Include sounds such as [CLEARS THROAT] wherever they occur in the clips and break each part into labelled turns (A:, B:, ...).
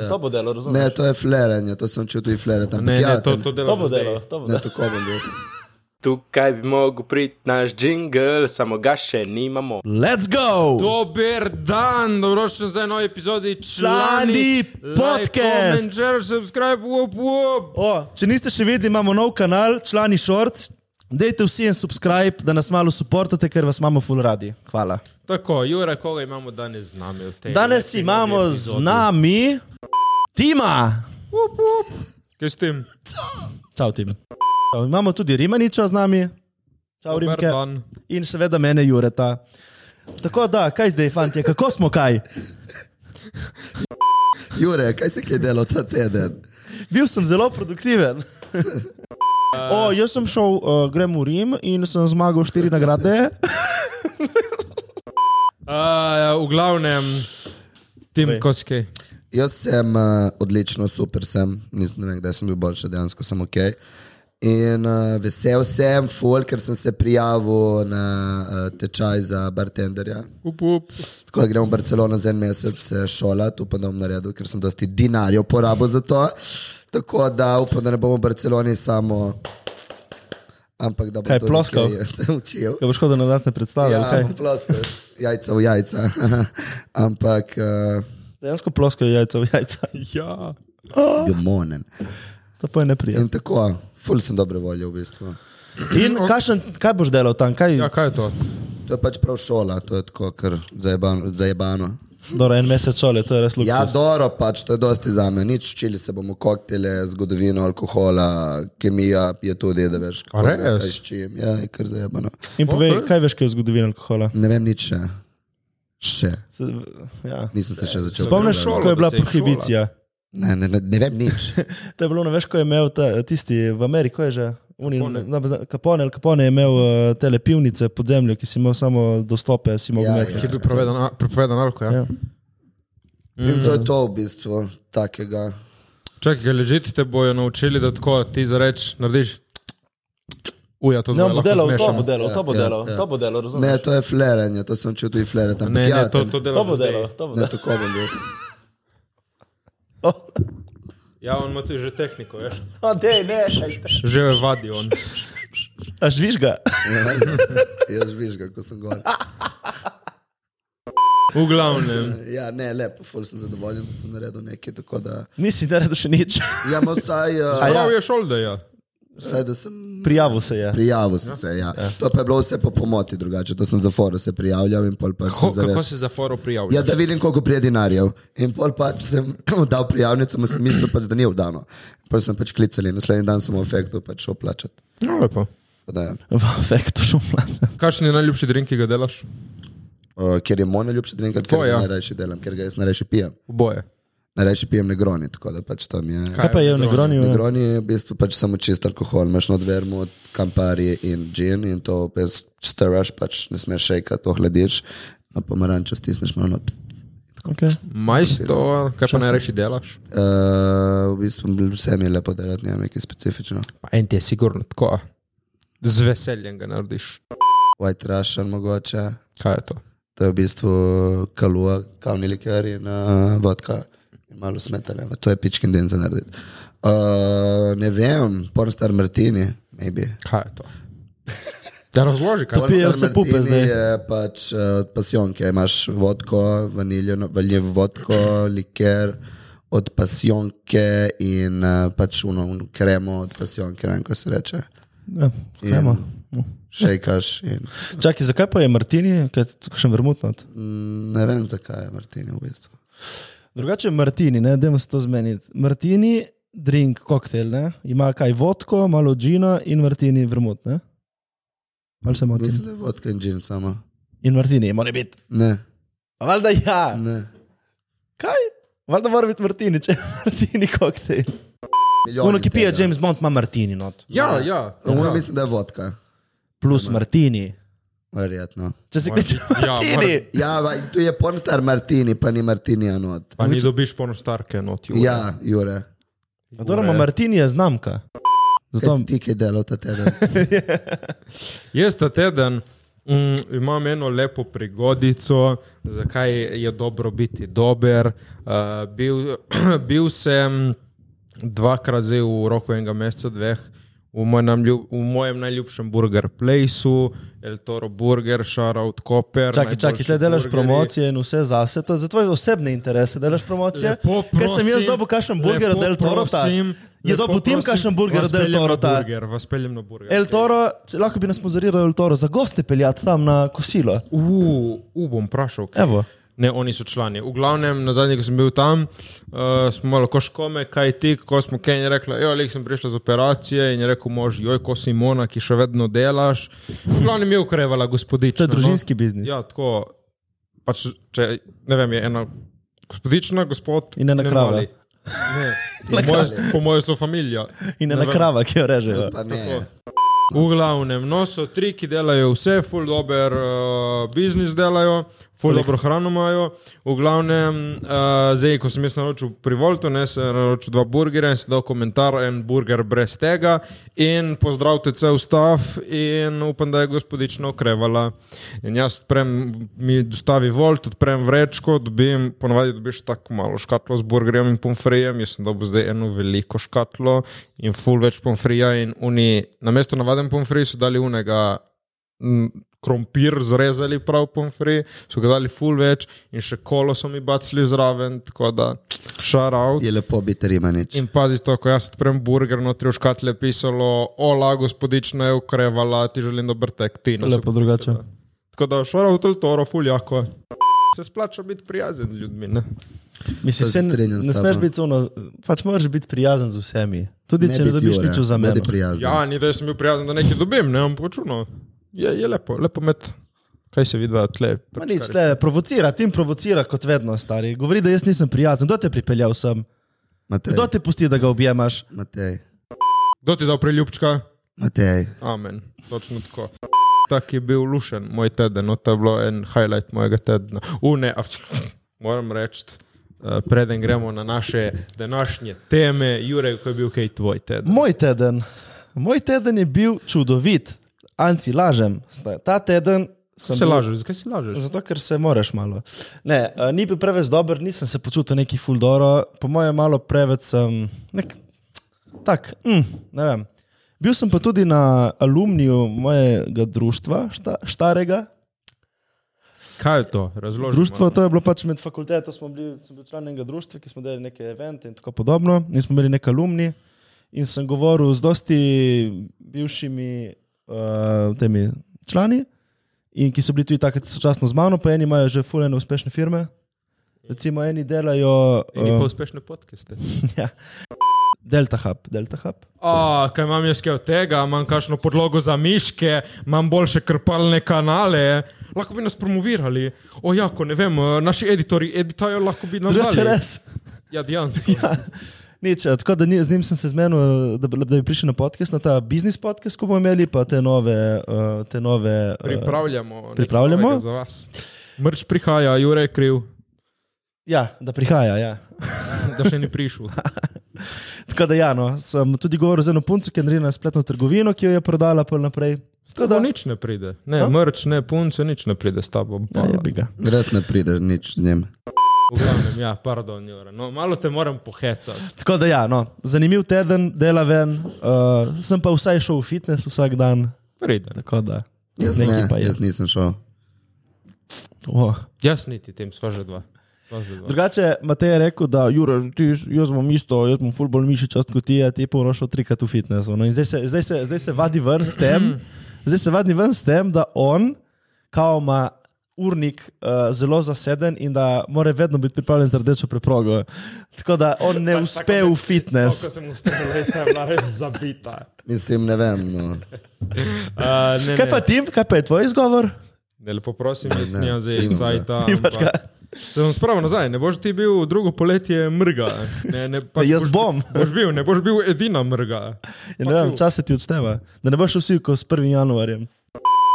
A: Ja. To bo delo, razumem.
B: Ne, to je fleranje, to sem čutil flerati.
C: Ne,
D: Ja,
C: ne, to, to delo.
A: To bo
C: zdaj.
A: delo, to bo
B: Ne,
A: delo.
B: tako bom bil.
E: Tukaj bi mogel priti naš jingle, samo ga še nimamo.
D: Let's go!
C: Dober dan, dobrodošli nazaj v novi epizodi
D: Člani
C: člani
D: podcast.
C: Share, subscribe, whoop, whoop.
D: O, če niste še vedeli, imamo nov kanal, člani Shorts. Dajte vsi en subscribe, da nas malo podportate, ker vas imamo full radi. Hvala.
C: Tako, Jure, koga imamo danes z nami? v tej
D: Danes
C: lepi
D: imamo
C: novi
D: z
C: epizodi?
D: nami Tima.
C: Kaj s tem?
D: Čau, Tim. Čau, imamo tudi Rimaniča z nami. Čau,
C: Dober
D: Rimke.
C: dan.
D: In seveda mene, Jureta. Tako da, kaj zdaj, fanti, kako smo kaj?
B: Jure, kaj si kaj delal ta teden?
D: Bil sem zelo
C: [LAUGHS]
D: produktiven. O, jaz sem šel, uh, grem v Rim in sem zmagal štiri nagrade.
C: Uh, v glavnem, Tim
D: Povej.
C: Koskej.
B: Jaz sem uh, odlično, super sem, nisem ne vem, kdaj sem bil boljši, dejansko sem ok. In uh, vesel sem, ful, ker sem se prijavil na uh, tečaj za bartenderja.
C: Up, up.
B: Tako da gremo v Barcelono za en mesec se šolati, upam, da bom naredil, ker sem dosti dinarjev porabil za to. Tako da upam, da ne bomo v Barceloni samo. Ampak da bom
D: Kaj,
B: to
D: ploskal?
B: nekaj, eh, [LAUGHS] se učil.
D: Ga boš hodil na nas ne predstavljal.
B: Ja,
D: Ja.
B: bom ploskal, jajca v jajca. [LAUGHS] Ampak, uh,
D: Dejansko ploskajo jajca v jajca.
C: Ja.
B: gemonen.
D: [LAUGHS] To pa je neprijetno.
B: In tako, ful sem dobre volje v bistvu.
D: In kakšen, kaj boš delal tam? Kaj,
C: ja, kaj je to?
B: To je pač prav šola, to je tako, ker zajebano. zajebano.
D: Dobro, en mesec šole, to je res luksuz.
B: Ja, doro, pač to je dosti za me. Nič učili se bomo koktele, zgodovino, alkohola, kemija je tudi, da veš, kako
C: res?
B: kaj s čim. Ja, je kar zajebano.
D: In povej,
C: Ok.
D: kaj veš, kaj je zgodovina alkohola?
B: Ne vem nič še. Še.
D: Se, ja.
B: Nisem se še začel.
D: Spomniš,
C: šolo,
D: ko je
C: da
D: bila
C: se je
D: prohibicija?
B: Ne, ne, ne, ne vem nič.
D: To je bilo, ne veš, ko je imel ta, tisti v Ameriki, ko je že. Oni, ne bo za- Capone, Al Capone je imel uh, te lepilnice pod zemljo, ki si imel samo dostope, si mogel
B: Ja,
D: imeti.
B: ja.
D: [LAUGHS]
C: Ki je bil prepovedan, a- prepovedan alko, ja?
D: Ja.
C: ja.
B: In to je to v bistvu takega.
C: Čakaj, ležite te bojo naučili, da tako ti zareč, narediš. Uja, to zdaj
D: Ne, bom
C: lahko
D: delal, to
B: jako
C: zmešamo.
A: To bo delo, to bo
B: Ja,
A: delo,
B: ja.
A: to bo delo,
B: Ne,
A: razumem.
B: to je fleranje, to sem čutil in flerati. ampak
C: Ne,
B: ja,
C: ne, to, to delo.
A: To bo delo, to bo
B: Ne,
A: delo.
B: tako bom bil.
C: Ja, on ima tudi že tehniko, veš.
D: No, dej, ne,
C: Že jo vadi on.
D: A žviž ga. [LAUGHS]
B: Ja. Jaz viš, kako sem govoril.
C: V glavnem.
B: Ja, ne, lepo, ful sem zadovoljen, da sem naredil nekaj, tako da...
D: Nisi naredil še nič. [LAUGHS]
B: Ja, ma vsaj,
D: A
B: uh,
D: ja?
C: Prav je šolda, ja.
B: vsaj, da sem
D: Prijavil se je.
B: prijavil sem se, ja. To pa je bilo vse po pomoti drugače, to sem za foro se prijavljal in pol pač
C: Ko,
B: sem
C: kako
B: zavest.
C: si za foro prijavljen?
B: Ja, da vidim, koliko prije denarjev. In pol pač sem [LAUGHS] dal prijavnico, ma sem mislil pač, da ni vdano. Pol sem pač klical in naslednji dan sem v efektu pač šel plačati.
C: No, lepo.
B: Tako Da, ja.
D: V afektu šumlad.
C: Kakšen je najljubši drink, ki ga delaš?
B: uh, ker je moj najljubši drink, ker
C: Tako,
B: ga
C: ja.
B: najrajši delam, ker ga jaz najrajši pijem.
C: Oboje.
B: Najrajši pijem negroni, tako da pač tam je.
D: Kaj pa je v Negroniju?
B: Negroni je v bistvu pač samo čist alkohol, imaš not vermut, kampari in gin in to brez staraš, pač ne smeš šejkati, ohladiš, na pomarančo stisneš malo. not.
D: Okay.
C: Majstor, kaj pa najrajši delaš?
B: Uh, v bistvu vse mi je lepo delati, ne vem, nekaj specifično.
C: Pa en ti je sigurno tako. Z veseljem ga narediš.
B: White Russian mogoče,
C: Kaj je to?
B: to je v bistvu kalua, kavni likar in uh, vodka. in Malo smetane, to je pičkin den za narediti. Uh, ne vem, pornstar Martini, maybe.
C: Kaj je to? Da razloži, kaj je
D: Pijejo vse pupe
B: Martini
D: zdaj.
B: Je pač eh, od pasijonke, imaš vodko, vaniljeno, vaniljev vodko, liker od pasijonke in eh, pač uno, uno kremo od pasijonke, ne vem, ko se reče.
D: Ja, gremo.
B: Šejkaš in
D: Čakaj, zakaj pa je Martini, kaj je še vermutno?
B: mm, ne vem, zakaj je Martini v bistvu.
D: Drugače je Martini, ne, dajmo se to zmeniti. Martini, drink, koktejl, ne, ima kaj vodko, malo džina in Martini vermut, ne? Ali se motim?
B: Mislim, da je vodka in džin samo.
D: In Martini, mora biti.
B: Ne,
D: A valjda ja.
B: ne.
D: Kaj? Valjda mora biti Martini, če je Martini koktejl.
B: Milijon
D: Ono, ki pije James Bond, ima Martini not.
C: Ja,
B: Ne.
C: ja.
B: Ono
C: ja.
B: mislim, da je vodka,
D: Plus Martini.
B: verjetno.
D: Če se
C: Mora
D: kliče
C: biti- ja,
D: Martini.
C: mora-
B: Ja, va- tu je pornstar Martini, pa ni Martini anot.
C: Pa ni dobiš pornostarke, no ti.
B: Ja, Jure.
D: Odoroma, Martini je znamka.
B: Kaj
D: Zato
B: si ti kaj delal ta teden?
C: Jaz ta teden Mm, imam eno lepo prigodico, zakaj je dobro biti dober. Uh, bil, [CLEARS THROAT] bil sem dvakrat zdaj v roku enega meseca, dveh. V mojem, ljub, v mojem najljubšem burger placeu, El Toro Burger, Shoutout Copper.
D: Čakaj, čakaj,
C: najboljši
D: tle delaš
C: burgerji.
D: promocije in vse zase, to je za tvoje osebne interese, delaš promocije.
C: Lepo
D: Ker sem jaz
C: prosim,
D: dobil kakšen burger od
C: lepo
D: Del Torota.
C: prosim,
D: Je
C: lepo
D: dobil tim
C: prosim,
D: kakšen burger
C: vas
D: od Del
C: peljem na
D: Torota.
C: burger, Vas peljem na burger.
D: El Toro, če lahko bi nas sponsoriral El Toro, za goste peljati tam na kosilo.
C: U, u bom vprašal. kaj.
D: Evo.
C: Ne, oni so člani. V glavnem, na zadnji, ko sem bil tam, uh, smo malo koškome, kaj ti, ko smo Ken je rekla, jo, lek sem prišla z operacije in je rekel mož, joj, ko si Mona, ki še vedno delaš. V glavnem je ukrevala gospodična.
D: To je družinski
C: no.
D: biznis.
C: Ja, tako, pač, če, ne vem, je ena gospodična, gospod.
D: In ena
C: ne
D: krava.
C: moli.
D: [LAUGHS]
C: Ne. Po moje, po moje so familija.
D: In
C: Ne
D: ena
C: vem.
D: krava, ki jo režejo.
B: Pa ne.
C: Ja, V glavnem, no so tri, ki delajo vse, full dober uh, biznis delajo, full dobro hrano imajo. V glavnem, uh, zdaj, ko sem jaz naročil pri Voltu, ne sem naročil dva burgerja in sem dal komentar, en burger brez tega. In pozdrav te cel stav in upam, da je gospodična okrevala. In jaz odprem, mi dostavi Volt, odprem vrečko, dobim, ponovadi dobiš tako malo škatlo z burgerjem in pomfrijem, jaz sem dobil zdaj eno veliko škatlo in full več pomfrija in oni, namesto navaden pomfri so dali unega m, krompir, zrezali prav pomfri, so ga dali full več in še kolo so mi bacili zraven, tako da šarav.
B: Je lepo biti rimanič.
C: In pazi to, ko jaz odprem burger, notri v škatli je pisalo, ola, gospodična je okrevala, ti želim dober tek, ti nas
D: Lepo drugače.
C: Tako da šarav tol toro, full jako. je. Se splača biti prijazen z ljudmi, ne?
D: Mislim,
B: Se
D: se ne,
B: strinjam s
D: ne smeš
B: tabo.
D: biti ono, pač moraš biti prijazen z vsemi. Tudi
B: Ne
D: če ne
B: biti
D: dobiš
B: jure,
D: nič za mene.
B: Bodi prijazen.
C: Ja, ni da sem bil prijazen, da nekaj dobim, ne vem, počuno. Je, je lepo, lepo med. Kaj se vidi, da tle.
D: Ma nič, tle, provocira, tim provocira kot vedno, stari. Govori, da jaz nisem prijazen, kdo te je pripeljal sem,
B: Matej,
D: kdo te pusti, da ga objemaš.
B: Matej,
C: Kdo ti je dal priljubčka?
B: Matej.
C: Amen, točno tako. Tak je bil lušen moj teden, no to je bilo en highlight mojega tedna. Une, [LAUGHS] moram reči, eh, preden gremo na naše današnje teme, Jurek, ko je bil kaj tvoj teden.
D: Moj teden, moj teden je bil čudovit, anci lažem. Ta teden sem
C: Se
D: bil-
C: lažeš, zakaj si lažeš?
D: Zato, ker se moraš malo. Ne, eh, ni bil preveč dober, nisem se počutil neki fuldoro, po mojem, malo preveč sem. Nek, tak, mm, ne vem. Bil sem pa tudi na alumniju mojega društva, šta, štarega.
C: Kaj je to? Razloži.
D: Društvo, to je bilo pač med fakulteto, smo bili, sem bil član enega društva, ki smo delali neke evente in tako podobno, in smo imeli neke alumni. In sem govoril z dosti bivšimi uh, temi člani, in ki so bili tudi takrat sočasno z mano, pa eni imajo že fulene uspešne firme. Recimo, eni delajo
C: In je pa
D: uh,
C: uspešne podkeste.
D: ja. Delta Hub, Delta Hub.
C: A, kaj imam jaz kaj od tega, imam kakšno podlogo za miške, imam boljše krpalne kanale, lahko bi nas promovirali. O, jako, ne vem, eh, naši editori editajo, lahko bi nam
D: Drugače
C: No, dali.
D: res. [LAUGHS]
C: Ja, Dian.
D: Nič, eh, tako da ni, z njim sem se zmenil, eh, da, bi- da bi prišel na podcast, na ta biznis podcast, ko bomo imeli pa te nove. Uh, te nove eh,
C: Pripravljamo. nekaj
D: Pripravljamo?
C: novega Za vas. Mrč prihaja, Jure je kriv,
D: Ja, da prihaja. Ja.
C: da še ni prišel.
D: Tako da, ja, no, sem tudi govoril z eno punco, ki je naredila spletno trgovino, ki jo je prodala pol naprej. [LAUGHS] Tako da,
C: Da nič ne pride. Ne,
D: A?
C: mrč, ne, punce, nič ne pride s tabo.
D: ja, je bi ga.
B: Res ne prideš nič z njim.
C: V glavnem, ja, pardon, Jure. No, malo te moram pohecati.
D: Tako da, ja, no, zanimiv teden, dela ven, uh, sem pa vsaj šel v fitness vsak dan.
C: Pride.
D: Tako da,
B: Jaz ne,
D: nekaj pa je.
B: jaz nisem šel.
D: Oh.
C: Jaz niti tem, sva že dva. Sva že dva.
D: Drugače, Matej je rekel, da Jure, ti, jaz bom isto, jaz bom fulbol mišičast kot ti, a ti pa vrošil trikrat v fitness. Ono. In zdaj se, zdaj, se, zdaj se vadi ven s tem, [CLEARS THROAT] zdaj se vadi ven s tem, da on, kao ima urnik uh, zelo zaseden in da mora vedno biti pripravljen za rdečo preprogo. Tako da on ne uspe v fitness.
C: Ko sem ustrelil, je bila [LAUGHS] res zabita.
B: Mislim, ne vem. No.
C: Uh, ne,
D: Kaj pa ti, kaj pa je tvoj izgovor? Ja,
C: Ne, lepo prosim, jaz
B: Ne,
C: nisem zdaj
B: nimam ga.
C: cajta.
D: Nimaš ga?
C: ampak Se bom spravil nazaj, ne boš ti bil drugo poletje mrga. Ne, ne, pač
D: Jaz
C: boš-
D: bom.
C: Boš bil, ne boš bil edina mrga.
D: Ja, ne vem, čas se ti odšteva, da ne boš vsi kot s 1. januarjem.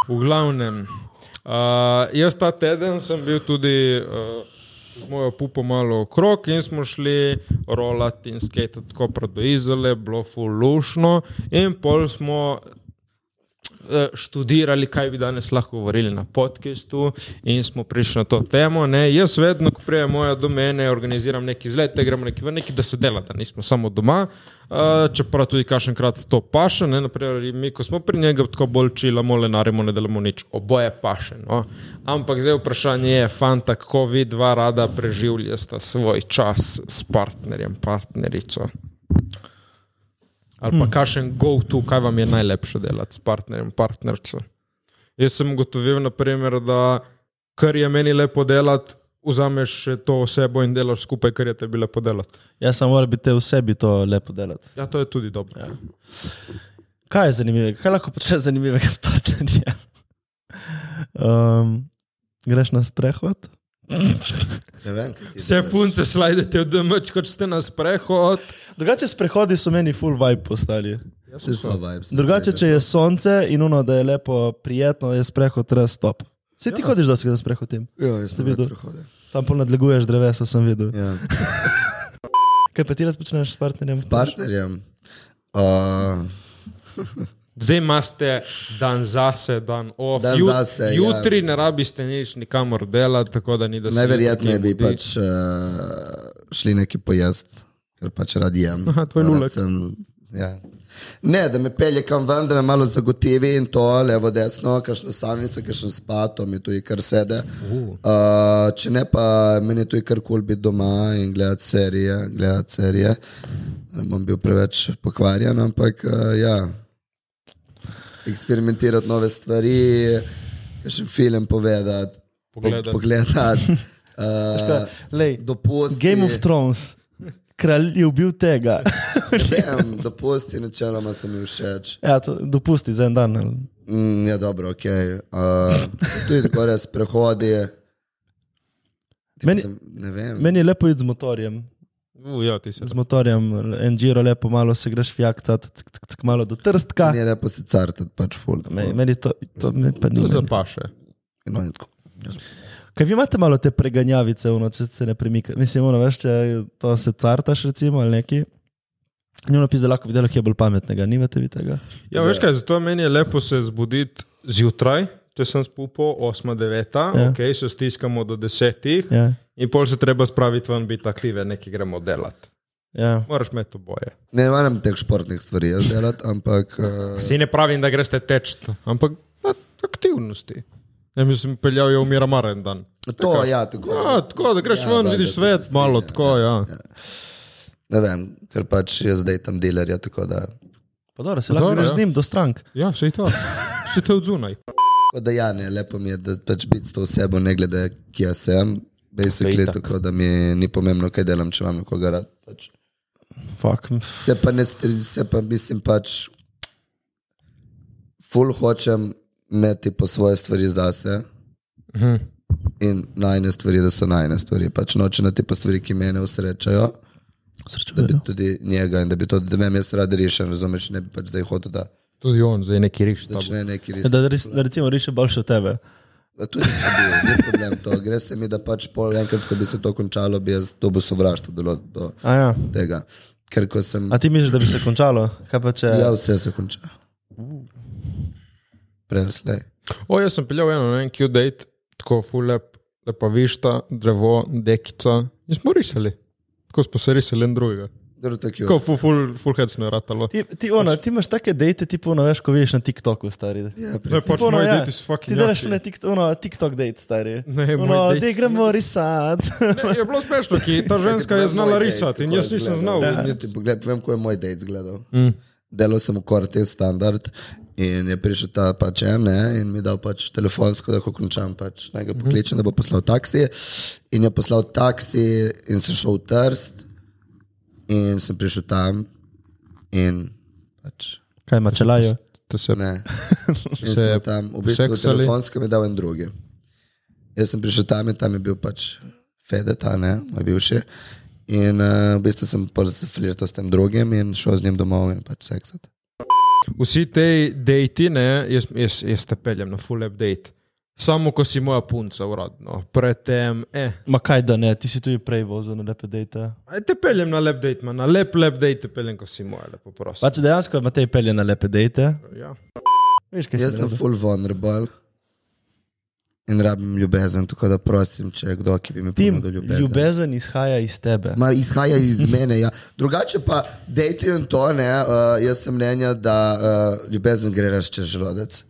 C: V glavnem, uh, jaz ta teden sem bil tudi uh, z mojo pupo malo okrog in smo šli rolati in skate tako pred do izole, bilo fulušno in pol smo eh, študirali, kaj bi danes lahko govorili na podkastu, in smo prišli na to temo. Ne. Jaz vedno, ko prije moja do mene, organiziram neki izlet, te gremo neki v neki, da se dela, da nismo samo doma. Uh, čeprav tudi kašenkrat to paše, ne, naprimer, mi, ko smo pri njega, tako bolj čilamo, lenarimo, ne delamo nič, oboje paše. No. Ampak zdaj vprašanje je, fanta, kako vi dva rada preživljate svoj čas s partnerjem, partnerico.
B: Hmm.
C: Ali pa kakšen go-to, kaj vam je najlepše delati s partnerjem, partnerico. Jaz sem ugotovil, naprimer, da kar je meni lepo delati, vzameš še to osebo in delaš skupaj, kar je tebi lepo delati.
D: Jaz sem moral biti v sebi to lepo delati.
C: Ja, to je tudi dobro. Ja.
D: Kaj je zanimivega? Kaj lahko počneš zanimivega s partnerjem? Um, greš na sprehod?
B: Ne vem, kaj ti
C: Vse
B: delaš.
C: punce slajdete od domač, kot ste na sprehod.
D: Drugače, sprehodi so meni full vibe postali.
B: Vsi so vibes.
D: Drugače, če je sonce in ono, da je lepo, prijetno, je sprehod res top. Se ti hodiš, da se s prehodim.
B: Ja, jaz sem
D: videl?
B: videl.
D: Tam pol nadleguješ drevesa, sem videl.
B: Ja.
D: Kaj pa ti rad počneš s partnerjem?
B: S partnerjem. Uh,
C: Zdaj imate dan zase, dan off.
B: Dan
C: Ju-
B: zase, ja.
C: jutri ja. ne rabite nič nikamor delati, tako da ni da se.
B: najverjetneje bi
C: nekaj mudi.
B: pač uh, šli nekaj pojesti, ker pač rad jem.
C: Aha, tvoj
B: Rad
C: lulek.
B: sem- Ja. Ne, da me pelje kam ven, da me malo zagotivi in to levo, desno, kakšne sanjice, kakšen spato, mi tu je kar sede. Uh, če ne, pa meni je tu je kar kul biti doma in gledati serije. Gledati serije. Ne bom bil preveč pokvarjen, ampak uh, ja. eksperimentirati nove stvari, še film povedati,
C: Pogledati.
D: [LAUGHS]
B: pogledati uh,
D: Lej,
B: dopusti.
D: Game of Thrones. Kralj je ubil
B: [LAUGHS]
D: tega.
B: Vem, dopusti, načeloma se mi všeč.
D: Ja, to, dopusti za en dan. ali?
B: Mm, je dobro, ok. Uh, tudi tako res prehodi.
D: Meni,
B: Ne vem.
D: meni je lepo iti z motorjem.
C: U, ja, ti si.
D: Z motorjem, en žiro lepo, malo se greš fjakcat, ck, ck, ck, malo do trstka.
B: Meni je lepo se cartati, pač ful.
D: Me- Meni to, to me pa ni.
C: Tu
D: meni.
C: zapaše.
B: No, in tako.
D: Kaj vi imate malo te preganjavice, ono, če se ne premika? Mislim, ono, veš, če to se cartaš recimo ali neki. Ni ono pisa, da lahko bi delo, ki je bolj pametnega, nimate vi tega?
C: Ja, veš kaj, zato meni je lepo se zbuditi zjutraj, če sem spupo 8-9,
D: Ja.
C: ja. ok, se stiskamo do 10 ja.
D: Ja,
C: in pol se treba spraviti ven, biti aktiven, nekaj gremo delati.
D: ja.
C: Moraš imeti oboje.
B: Ne maram teh športnih stvari jaz delati, ampak uh,
C: Vsi ne pravim, da greste teč, ampak na aktivnosti. Ne, mislim, peljal je v Miramar en dan.
B: to, ja, tako.
C: Ja, tako, da
B: Ja,
C: greš ja, ven,
B: valjda,
C: vidiš
B: to
C: svet,
B: se
C: malo
B: strinjam,
C: tako, ja.
B: Ne vem, ker pač jaz zdaj tam dealer, ja, tako da.
D: Pa dobro, se lahko
C: Dobro,
D: greš
C: ja.
D: z njim do strank.
C: Ja, se je to. Se te odzunaj.
B: Tako da ja, ne, lepo mi je, da pač biti s to osebo, ne glede, kje sem. Basically, tako da mi ni pomembno, kaj delam, če imam nekoga rad. Pač.
D: Fak.
B: Se pa ne strinjam, se pa mislim pač, full hočem imeti po svoje stvari zase. In najne stvari, da so najne stvari. Pač noče na te pa stvari, ki me usrečajo, da bi
D: Srečujem.
B: tudi njega in da bi to, da vem, jaz rad rešen, razumeš, ne bi pač zdaj hotel, da
C: Tudi on zdaj neki riš.
B: začne neki res.
D: Da, res, da recimo reši boljše od tebe.
B: Da Tudi če bi, ni problem to. Gre se mi, da pač pol enkrat, ko bi se to končalo, bi jaz dobil sovraštvo do, do
D: A, ja.
B: tega. Ker ko sem.
D: A ti misliš, da bi se končalo? Kaj pa če?
B: Ja, vse se konča. Preslej.
C: O, jaz sem peljal eno, ne, Q-date, tako fulep, lepa višta, drevo, dekica. In smo risali. Tako smo se risali en drugega.
B: Dobro, tako
C: Tako
B: je.
C: ful, ful, ful hecno je ratalo.
D: Ti, ti, ono, ti imaš take dejte, ti pa ono veš, ko veš na TikToku, stari.
B: Pač- Ja,
C: Ne,
B: preslej.
C: pač
D: Ono,
C: moji
D: ja.
C: deti so
D: Ti
C: fucking.
D: delaš
C: jači.
D: na TikTok, ono, TikTok dejte, stari.
C: Ne, moj
D: ono,
C: dejt-
D: da gremo
C: [LAUGHS]
D: risat.
C: Ne, je bilo smešno, ki ta ženska je znala risati in jaz nisem znal.
B: Ja. Ti pogled, vem, ko je moj dejt gledal. Mm. Delal sem v korte standard in je prišel ta pač en ne, in mi dal pač telefonsko, da ko končam, pač naj ga pokličem, da bo poslal taksi. In je poslal taksi in sem šel v Trst in sem prišel tam in pač
D: Kaj ima čelajo?
C: Te se
D: [LAUGHS]
B: Ne. In
C: Se
B: sem tam, v bistvu,
C: seksali?
B: telefonsko mi je dal en drugi. Jaz sem prišel tam in tam je bil pač Fedeta, ne, moj bivši. In uh, v bistvu sem pol flirtal s tem drugim in šel z njim domov in pač seksat.
C: Vsi te dejti, ne, jaz, jaz, jaz te peljem na full update. Samo ko si moja punca uradno, predtem, eh.
D: Ma kaj da ne, ti si tudi prej vozil na lepe dejte.
C: Aj te peljem na lep date, man, na lep, lep date te peljem, ko si moja, lepo prosim.
D: Pač dejansko je Matej pelje na lepe dejte.
C: Ja.
D: Veš, kaj
B: Jaz
D: sem
B: sem
D: rekel?
B: full vulnerable in rabim ljubezen, tako da prosim, če je kdo, ki bi mi
D: Tim,
B: pomagal ljubezen.
D: ljubezen izhaja iz tebe.
B: Ma, izhaja iz mene. Ja. Drugače pa, dejte jim to, ne, uh, jaz sem mnenja, da uh, ljubezen gre res čez želodec.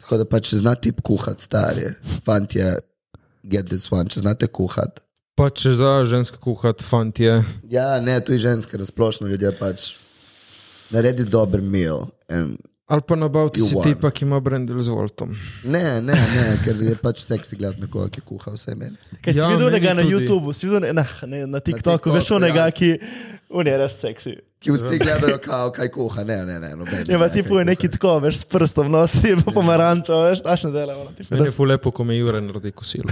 B: Tako da pač pa, če znate kuhati, stari, fantje, get this one, če znate kuhati.
C: Pa če za ženske kuhati, fantje.
B: Ja, ne, tu je ženske, razplošno ljudje pač naredi dober meal. And,
C: Ali pa nabavite si
B: Juan.
C: tipa, ki ima brendel z Voltom.
B: ne, ne, ne, ker je pač seksi gledati nekoga, ki kuha vse meni.
D: Kaj si
C: Ja,
D: videl
C: meni
D: onega na
C: tudi.
D: YouTubu, si videl ne- na, ne, na TikToku,
B: TikToku,
D: veš onega,
B: ja.
D: ki on je res seksi.
B: Ki vsi gledajo, kao, kaj kuha, ne, ne, ne. Noben,
D: Je Ja, pa ti je neki tako, veš, s prstom, no [LAUGHS] ti
B: Ja.
D: je pa pomarančo, veš, tašne dela. ono, tipu,
C: Meni
D: res-
C: je ful lepo, ko me Jure naredi kosilo.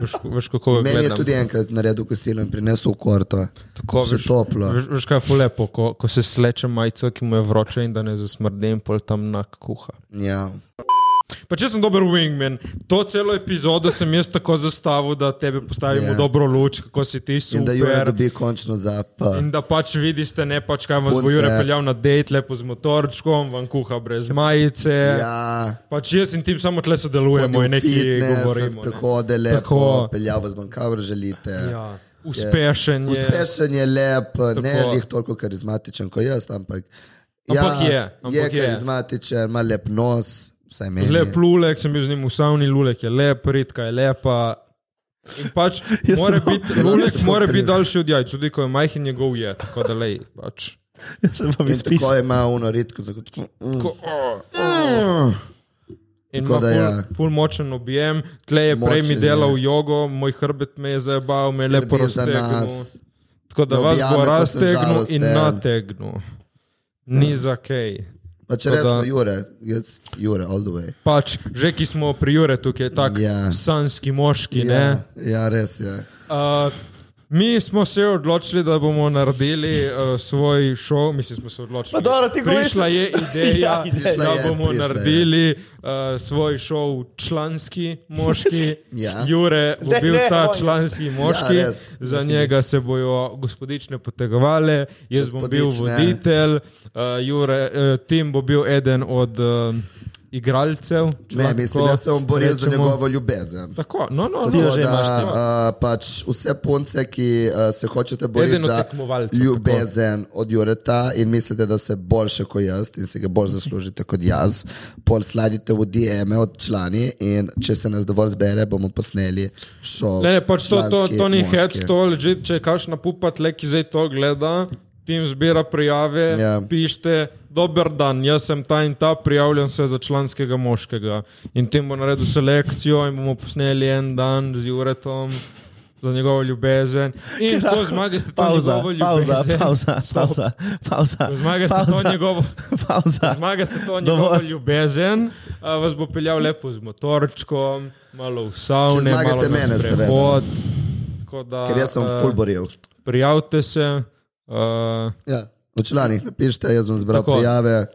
C: Veš, veš kako ga
B: Meni
C: gledam.
B: je tudi enkrat naredil kosilo in prinesel v korto.
C: Tako
B: Še
C: veš,
B: toplo.
C: Veš, veš kaj je ful lepo, ko, ko se sleče majico, ki mu je vroče in da ne zasmrdim, pol tam nak kuha.
B: Ja.
C: Pa če sem dober wingman, to celo epizodo sem jaz tako zastavil, da tebe postavim
B: Ja.
C: yeah. v dobro luč, kako si ti
B: In da Jure
C: super.
B: dobi končno za P.
C: In da pač vidiš, da ne pač kaj vas bo
B: Punce.
C: Jure peljal na dejt, lepo z motorčkom, vam kuha brez majice. Yeah.
B: Ja,
C: Pač jaz in ti samo tle sodelujemo in nekaj govorimo. Ne.
B: Prehode
C: Tako.
B: lepo, peljavo z bankavr želite.
C: Ja. Uspešen je.
B: Uspešen je lep, Tako. ne
C: Tako.
B: lih toliko karizmatičen kot jaz, ampak, ja,
C: Ampak je, ampak je.
B: je karizmatičen, ima lep nos, vsaj meni.
C: Lep lulek, sem bil z njim v savni, lulek je lep, redka je lepa. In
B: [LAUGHS]
C: pač
D: Jaz
C: mora
D: sem-
C: biti,
B: Ja,
C: lulek
B: jaz sem
C: mora biti
B: primer.
C: daljši od jajc, tudi ko je majhen njegov je, tako da lej. Pač.
D: [LAUGHS] Jaz sem
B: In
D: pa
B: tako
D: izpisal.
B: ima uno redko, tako, tako, mm,
C: Ko, oh,
B: mm.
C: In ima
B: Tako
C: ful,
B: da
C: ja.
B: ja.
C: ful močen objem, tle je prej mi
B: Močen
C: delal
B: je.
C: jogo, moj hrbet me je zabaval, me je lepo no.
B: Skrbi za
C: raztegnil.
B: nas.
C: Tako da
B: Da
C: vas
B: objame,
C: bo
B: ko sem
C: raztegnil in
B: žalosten.
C: nategnil. Ni za kaj.
B: Pa če
C: Tako da-
B: rečemo, Jure, jaz, Jure, all the way.
C: Pač, že ki smo pri Juretu, ki je tak
B: Ja.
C: yeah. sanski moški, yeah. ne?
B: Ja, ja, res je.
C: Uh, mi smo se odločili, da bomo naredili uh, svoj šov, mislim, smo se odločili.
D: Pa dobro, ti govoriš-
C: Prišla
B: [LAUGHS]
C: je ideja,
D: Ja, ideja.
C: da
B: Prišla je,
C: bomo
B: prišla je.
C: naredili uh, svoj šov članski moški.
B: [LAUGHS] Ja.
C: Jure bo
D: Ne,
C: bil
D: ne,
C: ta
D: on je.
C: članski moški,
B: Ja, res.
C: za njega se bojo gospodične potegovale, jaz bom bil
B: Gospodične.
C: voditelj, uh, Jure, uh, Tim bo bil eden od uh, igralcev. če
B: Ne,
C: lahko
B: mislim, da se bom boril za
C: rečemo.
B: njegovo ljubezen.
C: Tako, no, no,
D: Ti jo
C: no.
B: Tako
D: že
B: da,
D: imaš, ti.
B: a, pač vse punce, ki a, se hočete boriti
C: Eden od
B: za
C: tekmovalcev,
B: ljubezen od Jureta in mislite, da ste boljše kot jaz in se ga bolj zaslužite kot jaz, pol sladite v DM-e od člani in če se nas dovolj zbere, bomo posneli šov.
C: Ne, ne, pač to, to,
B: članski,
C: to ni
B: moški.
C: hec, to leži, če je kakšna pupa tle, ki zdaj to gleda. Tim zbira prijave,
B: Ja.
C: yeah. pišite, dober dan, jaz sem ta in ta, prijavljam se za članskega moškega. In tim bo naredil selekcijo in bomo posneli en dan z Juretom za njegovo ljubezen. In ko zmagate to
D: Pauza,
C: njegovo [LAUGHS]
D: pauza,
C: ljubezen,
D: pauza,
C: Stop.
D: pauza, pauza.
C: Ko zmagate to njegovo,
D: Pauza.
C: zmagate to njegovo
D: Dovolj.
C: ljubezen, a, vas bo peljal lepo z motorčkom, malo v
B: Če
C: savne,
B: zmagate
C: malo na
B: mene, seveda. no.
C: sprehod. Tako Da,
B: Ker jaz sem
C: eh,
B: full boril.
C: prijavite se. Uh,
B: Ja. V članih napišite, jaz bom zbral
C: Tako.
B: prijave.